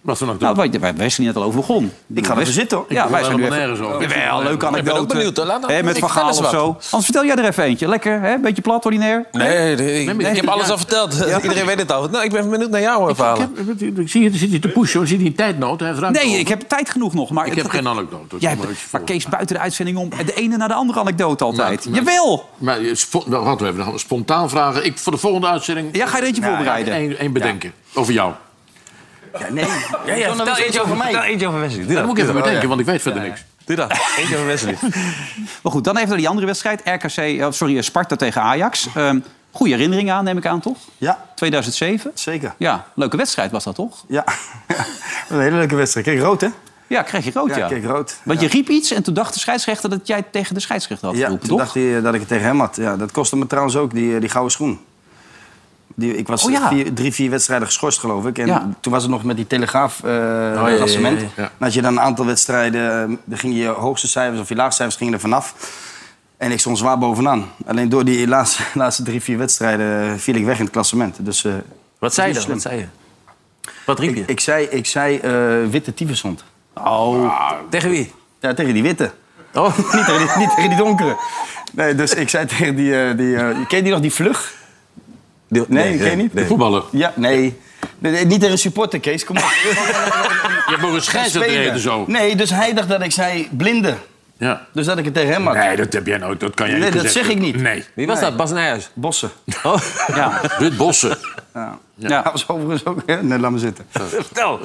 S3: Wat voor
S2: anekdote? Nou, waar Wesley net al over begon.
S5: Ik ga
S2: Wes-
S5: even zitten, hoor. Ik
S2: Ja,
S5: wil
S2: wij zijn nu
S5: helemaal
S2: even...
S5: nergens over.
S2: Jawel, leuke
S5: Ik ben ook
S2: anekdote.
S5: benieuwd, hoor. Laat dan-
S2: Hè, met
S5: ik ga
S2: verhaal
S5: eens
S2: of
S5: wat.
S2: zo. Anders vertel jij er even eentje. Lekker, hè? Beetje plat, ordinair.
S9: Nee, ik, ik heb alles al verteld. <laughs> Iedereen weet het al. Nou, ik ben benieuwd naar jouw
S3: Ik,
S9: verhalen.
S3: heb, ik, zie je, er zit hij te pushen, hoor. zit hij in tijdnood. Hij heeft ruimte
S2: Nee,
S3: over.
S2: ik heb tijd genoeg nog. Maar
S3: Ik
S2: het-
S3: heb geen anekdote.
S2: Jij
S3: Kom maar
S2: hebt,
S3: eens
S2: maar Kees buiten de uitzending om. De ene naar de andere anekdote
S5: Nou,
S2: altijd. Jawel!
S3: Maar je spo- nou, wat, we hebben nog spontaan vragen. Ik, voor de volgende uitzending...
S2: Ja, ga je er eentje voorbereiden?
S3: Eén één bedenken. Over jou.
S5: Ja, nee. Ja, ja,
S9: vertel
S5: vertel
S9: eentje
S5: iets over mij.
S9: vertel eentje over Wesley. Doe
S3: dat moet ik even
S9: Doe dat.
S3: bedenken,
S9: Ja.
S3: want ik weet verder
S9: Ja,
S3: niks.
S9: Doe dat. Eentje over Wesley.
S2: Maar goed, dan even naar die andere wedstrijd. RKC, eh, sorry, eh, Sparta tegen Ajax. Ehm goede herinneringen aan, neem ik aan, toch?
S5: Ja.
S2: 2007?
S5: Zeker.
S2: Ja, leuke wedstrijd was dat, toch?
S5: Ja. <laughs> Een hele leuke wedstrijd. Kijk, rood, hè?
S2: Ja, kreeg je rood, ja.
S5: Ja, ik kreeg rood.
S2: Want je riep iets en toen dacht de scheidsrechter dat jij tegen de scheidsrechter had
S5: Ja,
S2: geroepen,
S5: toen
S2: toch?
S5: dacht hij eh, dat ik het tegen hem had. Ja, dat kostte me trouwens ook, die, eh, die gouden schoen. Die, ik was eh,
S2: Oh, ja.
S5: vier, drie, vier wedstrijden geschorst, geloof ik. En
S2: Ja.
S5: toen was het nog met die Telegraaf eh
S2: ja, ja,
S5: klassement.
S2: ja, ja.
S5: En Als je dan een aantal wedstrijden... eh, dan gingen je hoogste cijfers of je laagste cijfers gingen er vanaf. En ik <laughs> stond zwaar bovenaan. Alleen door die laatste, laatste drie, vier wedstrijden eh, viel ik weg in het klassement. Dus eh, Wat
S21: zei je
S5: dat?
S21: dan? Wat
S5: zei je? Wat riep je? Ik, ik zei, ik zei eh, witte tyfushond. Oh. Tegen wie? Ja, tegen die witte. Oh, <laughs> niet, tegen die, niet tegen die donkere. Nee, dus ik zei tegen die... eh, die eh, ken je die nog, die vlug? nee,
S3: nee,
S5: ken je niet?
S3: nee. Voetballer.
S5: Ja, nee. Nee, nee, Niet tegen een supporter, Kees, <laughs> kom op. Je hebt nog een
S3: scheidsrechter reden zo.
S5: Nee, dus hij dacht dat ik zei blinde.
S3: Ja.
S5: Dus dat ik het tegen hem had.
S3: Nee, dat heb jij nooit. Dat kan jij
S5: Nee,
S3: niet
S5: dat zeg ik niet.
S3: Nee.
S5: Wie was dat? Bas Nijhuis? Bossen. Oh. Ja.
S3: Rut Bossen.
S5: Ja. Ja. dat was overigens ook... <laughs> Nee, laat me zitten. Vertel.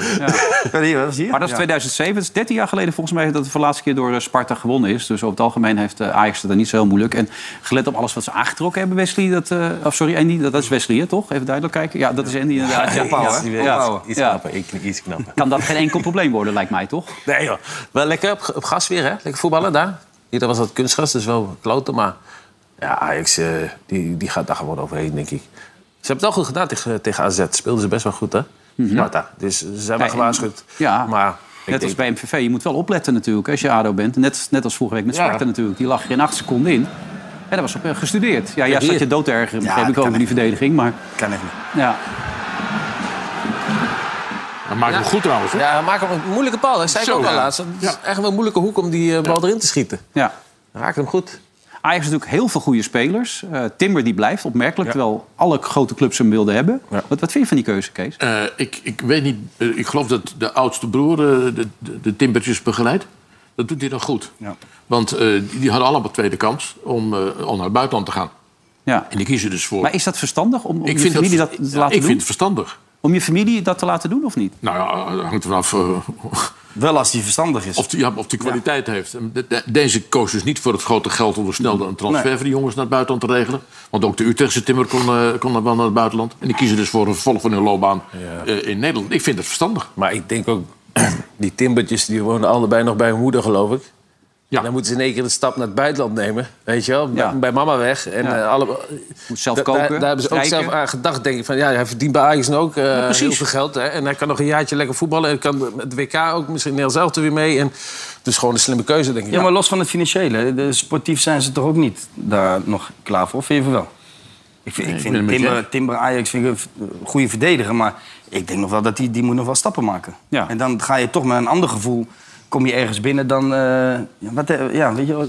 S2: Maar dat is 2007, dat is 13 jaar geleden volgens mij... dat het voor de laatste keer door eh, Sparta gewonnen is. Dus over het algemeen heeft eh, Ajax het dan niet zo heel moeilijk. En gelet op alles wat ze aangetrokken hebben, Wesley... Dat, eh, of sorry, Andy, dat, dat is Wesley, hè, toch? Even duidelijk kijken. Ja, dat is Andy inderdaad.
S4: Ja,
S2: Pauw,
S4: iets-
S2: hè?
S4: iets- iets knapper,
S2: Ik iets knapper. Kan dat geen enkel probleem worden, lijkt mij, toch?
S4: Nee joh, wel lekker op, op gas weer hè, lekker voetballen daar. Hier dat was dat kunstgras, dus wel kloten, maar ja, Ajax eh, die, die gaat daar gewoon overheen denk ik. Ze hebben het wel goed gedaan tegen, tegen AZ, speelden ze best wel goed hè,
S2: Mhm.
S4: Sparta. Dus ze zijn wel
S2: Nee,
S4: gewaarschuwd.
S2: Ja,
S4: Maar ik
S2: net als
S4: denk-
S2: bij MVV. Je moet wel opletten natuurlijk als je ADO bent. Net, net als vorige week met Sparta
S4: Ja.
S2: natuurlijk. Die lag er in acht seconden in. En dat was op eh, gestudeerd. Ja, ja,
S5: hier.
S2: zat je dood te ergeren,
S5: Ja,
S2: begreep
S5: dat
S2: ik
S5: kan
S2: ook, in die verdediging. Maar
S5: Kan echt niet.
S2: ja,
S3: Dat maakt hem goed trouwens.
S4: Ja, hij maakt hem een moeilijke paal. Dat zei ik
S2: Zo,
S4: ook al
S2: ja.
S4: laatst. Het is echt wel een moeilijke hoek om die eh, bal erin te schieten.
S2: ja.
S4: Raakt hem goed.
S2: Ajax heeft natuurlijk heel veel goede spelers. Eh, Timber die blijft, opmerkelijk. Terwijl alle grote clubs hem wilden hebben. Wat, wat vind je van die keuze, Kees?
S3: Eh, ik, ik weet niet, eh, ik geloof dat de oudste broer eh, de, de, de Timbertjes begeleidt. Dat doet hij dan goed. Want eh, die, die hadden allemaal tweede kans om, eh, om naar het buitenland te gaan.
S2: Ja.
S3: En die kiezen dus voor.
S2: Maar is dat verstandig om, om
S3: Ik
S2: je
S3: vind dat-
S2: familie dat, te
S3: ja,
S2: laten
S3: ik
S2: doen?
S3: vind het verstandig.
S2: Om je familie dat te laten doen of niet?
S3: Nou ja, dat hangt ervan af.
S5: Wel als hij verstandig is.
S3: Of die, ja, of die kwaliteit heeft. En de- de- deze koos dus niet voor het grote geld om er snel een transfer
S5: Nee.
S3: voor die jongens naar het buitenland te regelen. Want ook de Utrechtse timmer kon, eh, kon dan wel naar het buitenland. En die kiezen dus voor een vervolg van hun loopbaan eh, in Nederland. Ik vind dat verstandig.
S4: Maar ik denk ook, <clears throat> die timbertjes die wonen allebei nog bij hun moeder, geloof ik. En dan moeten ze in één keer de stap naar het buitenland nemen. Weet je wel, bij,
S2: Ja.
S4: bij mama weg. En,
S2: Ja.
S4: eh, alle,
S2: Moet zelf
S4: Da-
S2: koken,
S4: Daar, daar hebben ze ook
S2: strijken.
S4: zelf aan gedacht. Denk ik van, ja, hij verdient bij Ajax nu ook eh
S2: Ja, precies.
S4: heel veel geld. Hè? En hij kan nog een jaartje lekker voetballen. En kan het WK ook misschien Nederlands zelf er weer mee. En, dus gewoon een slimme keuze, denk ik.
S5: Ja, maar los van het financiële. De sportief zijn ze toch ook niet daar nog klaar voor? Vind je van wel? Ik vind,
S4: Nee,
S5: ik
S4: ik
S5: vind
S4: ben het met je
S5: Timber, Timber Ajax vind ik een v- goede verdediger. Maar ik denk nog wel dat die, die moet nog wel stappen maken.
S2: Ja.
S5: En dan ga je toch met een ander gevoel... kom je ergens binnen dan... eh, ja, wat, eh, ja, weet je wel...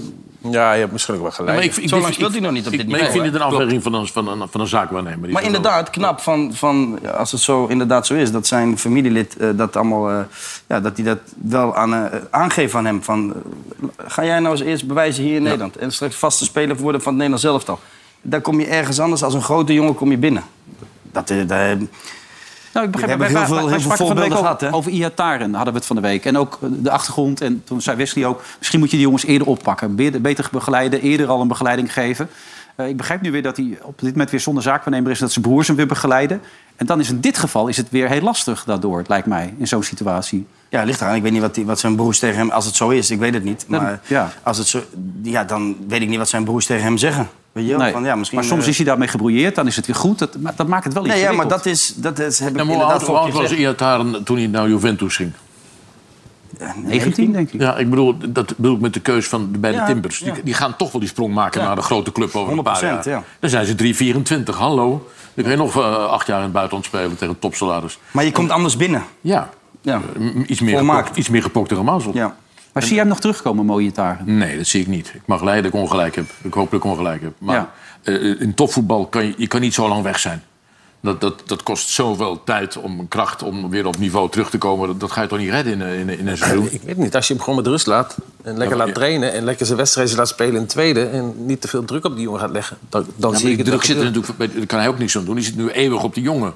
S4: Ja, je hebt misschien ook wel
S5: gelijk.
S3: Maar
S5: Zo lang speelt hij nog niet op
S3: ik-
S5: dit
S3: maar
S5: niveau,
S3: ik vind
S5: hè?
S3: het een afweging van een, van een, van een zaakwaarnemer. Die
S5: Maar
S3: zo-
S5: inderdaad, knap van, van ja, als het zo inderdaad zo is, dat zijn familielid eh, dat allemaal, eh, ja, dat die dat wel aan, eh, aangeeft aan hem. Van, eh, ga jij nou eens eerst bewijzen hier in Nederland en straks vaste speler worden van het Nederlands elftal. Daar kom je ergens anders als een grote jongen kom je binnen. Dat, eh, daar,
S2: Nou, ik
S5: We
S2: begrijp
S5: hebben heel veel, heel veel voorbeelden
S2: over,
S5: gehad, hè?
S2: Over Iataren hadden we het van de week. En ook eh, de achtergrond. En toen zei Wesley ook... misschien moet je die jongens eerder oppakken. Beter, beter begeleiden, eerder al een begeleiding geven. Eh, ik begrijp nu weer dat hij op dit moment weer zonder zaakwaarnemer is... en dat zijn broers hem weer begeleiden. En dan is in dit geval is het weer heel lastig daardoor, het lijkt mij. In zo'n situatie.
S5: Ja, ligt eraan. Ik weet niet wat, die, wat zijn broers tegen hem... Als het zo is, ik weet het niet.
S2: Dan-
S5: Maar
S2: ja.
S5: als het zo, ja, dan weet ik niet wat zijn broers tegen hem zeggen. Weet je wel?
S2: Nee.
S5: Van, ja, misschien,
S2: maar soms
S5: eh,
S2: is hij daarmee gebrouilleerd, dan is het weer goed. Dat, maar dat maakt het wel
S5: Nee, ja,
S2: ingewikkeld.
S5: maar dat is... Dat is heb ik
S3: En hoe
S5: inderdaad
S3: oud, hoe
S5: vorige
S3: oud
S5: keer
S3: was
S5: gezegd.
S3: Iataren toen hij naar Juventus ging?
S2: 19, denk ik.
S3: Ja, ik bedoel, dat bedoel ik met de keus van de beide
S5: Ja,
S3: Timbers.
S5: ja.
S3: Die, die gaan toch wel die sprong maken
S5: Ja.
S3: naar de grote club over een paar
S5: 100%,
S3: jaar.
S5: ja.
S3: Dan zijn ze 3,24. Hallo. Dan kun je nog eh, acht jaar in het buitenland spelen tegen een topsalaris.
S5: Maar je komt anders binnen.
S3: Ja. Eh,
S5: ja.
S3: Iets, meer
S5: Volmaakt.
S3: gepokt, iets meer gepokt tegen Mazel.
S5: Ja.
S2: Maar zie jij hem nog terugkomen, mooie taren?
S3: Nee, dat zie ik niet. Ik mag leiden dat ik ongelijk heb. Ik hoop dat ik ongelijk heb. Maar
S2: Ja.
S3: eh, in topvoetbal kan je, je kan niet zo lang weg zijn. Dat, dat, dat kost zoveel tijd om kracht om weer op niveau terug te komen. Dat, dat ga je toch niet redden in, een- in, een- in een seizoen?
S4: Ik weet niet, als je hem gewoon met rust laat. En lekker laat trainen. En lekker zijn wedstrijdje laat spelen in het tweede. En niet te veel druk op die jongen gaat leggen. Dan, dan
S3: Ja,
S4: zie
S3: maar
S4: ik
S3: die
S4: het
S3: druk
S4: wel
S3: zit er
S4: gebeuren.
S3: natuurlijk, bij- daar kan hij ook niks aan doen. Die zit nu eeuwig op die jongen.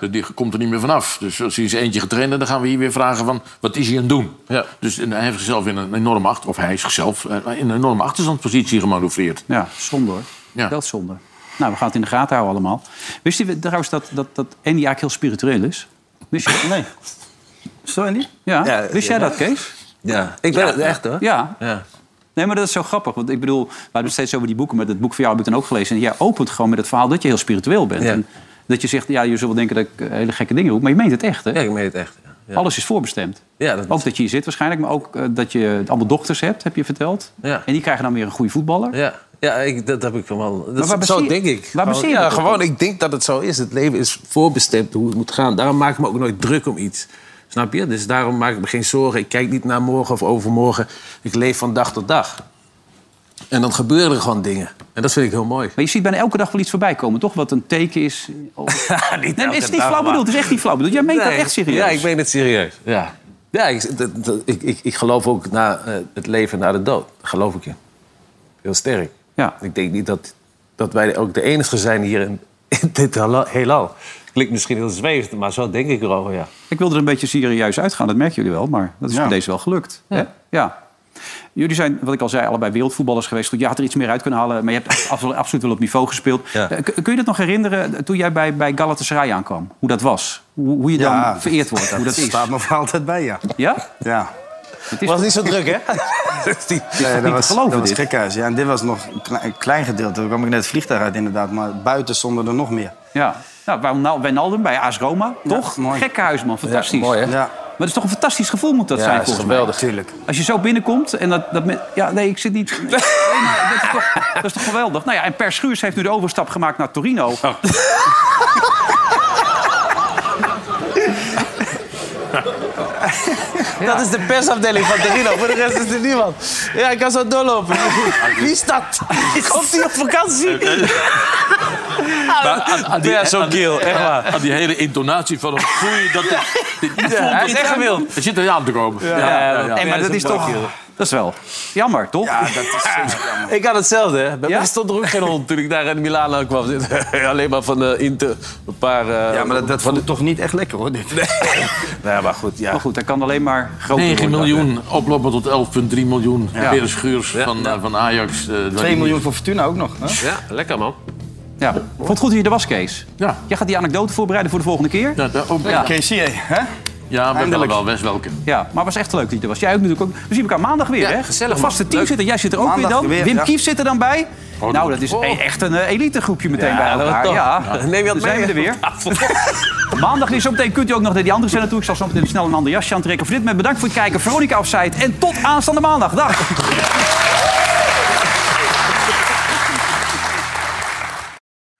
S3: Dus Die komt er niet meer vanaf. Dus als hij eens eentje getraind heeft, dan gaan we hier weer vragen van... wat is hij aan het doen? Dus en hij heeft zichzelf in een enorme, achter, of hij is zichzelf, eh, in een enorme achterstandspositie gemanoeuvreerd.
S2: Ja, zonde hoor.
S3: Ja.
S2: Dat is zonde. Nou, we gaan het in de gaten houden allemaal. Wist je trouwens dat, dat, dat Andy eigenlijk heel spiritueel is? Wist je Nee.
S5: Zo, Andy?
S2: Ja, wist jij dat, Kees?
S4: Ja, ik ben het echt hoor.
S2: Ja.
S4: Ja.
S2: Nee, maar dat is zo grappig. Want ik bedoel, we hebben het steeds over die boeken. Maar dat boek van jou heb ik dan ook gelezen. En jij opent gewoon met het verhaal dat je heel spiritueel bent. En dat je zegt, ja, je zult wel denken dat ik eh, hele gekke dingen roep. Maar je meent het echt, hè? Ja,
S4: ik meen het echt. Ja.
S2: Alles is voorbestemd.
S4: Ja, dat
S2: Ook dat je hier zit waarschijnlijk. Maar ook eh, dat je allemaal dochters hebt, heb je verteld.
S4: Ja.
S2: En die krijgen dan weer een goede voetballer.
S4: Ja, Ja, ik, dat heb ik wel. Maar Dat waar is- zo baseer- denk ik. waar Gewoon- baseer je ja, dat op? gewoon, ik denk dat het zo is. Het leven is voorbestemd hoe het moet gaan. Daarom maak ik me ook nooit druk om iets. Snap je? Dus daarom maak ik me geen zorgen. Ik kijk niet naar morgen of overmorgen. Ik leef van dag tot dag. En dan gebeuren er gewoon dingen. En dat vind ik heel mooi.
S2: Maar je ziet bijna elke dag wel iets voorbij komen, toch? Wat een teken
S4: <laughs>
S2: is. Of...
S4: niet
S2: nee, maar
S4: elke
S2: is het niet
S4: dag,
S2: flauw
S4: maar-
S2: bedoeld? Het is echt niet flauw bedoeld. Jij meent dat
S4: Nee,
S2: echt serieus.
S4: Ja, ik meen het serieus. Ja, ja ik, dat- dat- ik, ik, ik geloof ook na eh, het leven na de dood. Daar geloof ik in. Heel sterk.
S2: Ja.
S4: Ik denk niet dat, dat wij ook de enige zijn hier in, in dit hela- heelal. Klinkt misschien heel zwevend, maar zo denk ik erover, ja.
S2: Ik wilde er een beetje serieus uitgaan, dat merken jullie wel. Maar dat is voor deze wel gelukt. Ja. Hè? ja. Jullie zijn, wat ik al zei, allebei wereldvoetballers geweest. Je had er iets meer uit kunnen halen, maar je
S4: <laughs>
S2: hebt abso- absoluut wel op niveau gespeeld. Eh, k- Kun je dat nog herinneren eh, toen jij bij, bij Galatasaray aankwam? Hoe dat was? Hoe, hoe je dan vereerd wordt? hoe dat is?
S5: staat me voor altijd bij, ja.
S2: Ja?
S5: Ja.
S2: Het was
S5: niet zo druk,
S2: <laughs>
S5: hè?
S2: niet te
S5: was,
S2: geloven,
S5: dat was
S2: dit.
S5: gekhuis. Ja, en dit was nog een klein, een klein gedeelte. Toen kwam ik net het vliegtuig uit, inderdaad. Maar buiten stonden er nog meer.
S2: Ja. Nou, waarom nou Wijnaldum bij AS Roma, toch? Gekkenhuis, man. Fantastisch.
S5: Ja, mooi, hè? Ja.
S2: Maar het is toch een fantastisch gevoel moet dat
S4: Ja,
S2: zijn,
S4: het is
S2: volgens mij.
S4: geweldig.
S5: Tuurlijk.
S2: Als je zo binnenkomt en dat... dat men- ja, nee, ik zit
S3: <laughs>
S2: niet... Nee, maar dat, is toch, dat is toch geweldig? Nou ja, en Per Schuurs heeft nu de overstap gemaakt naar
S4: Oh,
S2: Torino.
S4: Dat is de persafdeling van Torino. Voor de rest is er niemand. Ja, ik kan zo doorlopen. Wie is dat? Komt hij op <laughs> vakantie?
S3: Maar aan, aan die,
S4: Ja, zo'n keel, echt waar.
S3: aan die hele intonatie van hem voel je dat dit, dit niet
S4: Ja,
S3: voelt
S4: hij
S3: tot
S4: is echt
S3: hem.
S4: gewild.
S3: Het zit er aan te komen.
S4: Ja, ja,
S2: Nee, Eh, maar
S4: ja,
S2: dat is
S4: zo'n
S2: toch...
S4: bakje.
S2: Dat is wel jammer, toch? Ja,
S5: dat <laughs> is
S4: Ik had hetzelfde. Hè. Bij mij stond er ook geen hond toen ik daar in Milaan kwam. <laughs> Alleen maar van eh, Inter. Een paar... eh,
S5: Ja, maar dat, dat voelt toch niet echt lekker, hoor, dit.
S4: Nee, maar goed, ja.
S2: Maar goed, dat kan alleen maar groter
S3: 9
S2: worden.
S3: miljoen, oplopen tot 11,3 miljoen.
S2: Ja.
S3: Weer een schuurs van, eh, van Ajax. eh, dat je
S5: 2
S3: niet-
S5: miljoen voor Fortuna ook nog. Hè?
S4: Ja, lekker man.
S2: Ja. Vond het goed dat je er was, Kees? Ja. Jij gaat die anekdote voorbereiden voor de volgende keer?
S3: Ja, nou, dat ook.
S2: Ja.
S5: Kees, zie je, hè?
S3: Ja, we
S2: Eindelijk.
S3: hebben wel best welke.
S2: Ja, maar het was echt leuk dat je er was. Jij ook natuurlijk ook. We zien elkaar maandag weer,
S3: Ja,
S2: hè?
S3: gezellig,
S2: De vaste
S3: man.
S2: team
S3: Leuk.
S2: zitten. Jij zit er ook
S3: Maandag
S2: weer dan.
S3: weer,
S2: Wim
S3: ja.
S2: Kief zit er dan bij. nou, dat is
S3: oh.
S2: e- echt een eh, elite groepje meteen
S4: Ja,
S2: bij
S4: dat was
S2: elkaar.
S4: top.
S2: Ja.
S4: Ja. Neem je
S2: Dan
S4: dat
S2: zijn
S4: mee?
S2: we er weer.
S4: <laughs>
S2: Maandag is zometeen kunt u ook nog naar die andere zender toe. Ik zal zo meteen snel een ander jasje aantrekken. Voor dit moment bedankt voor het kijken. Veronica Afzijd. En tot aanstaande maandag. Dag.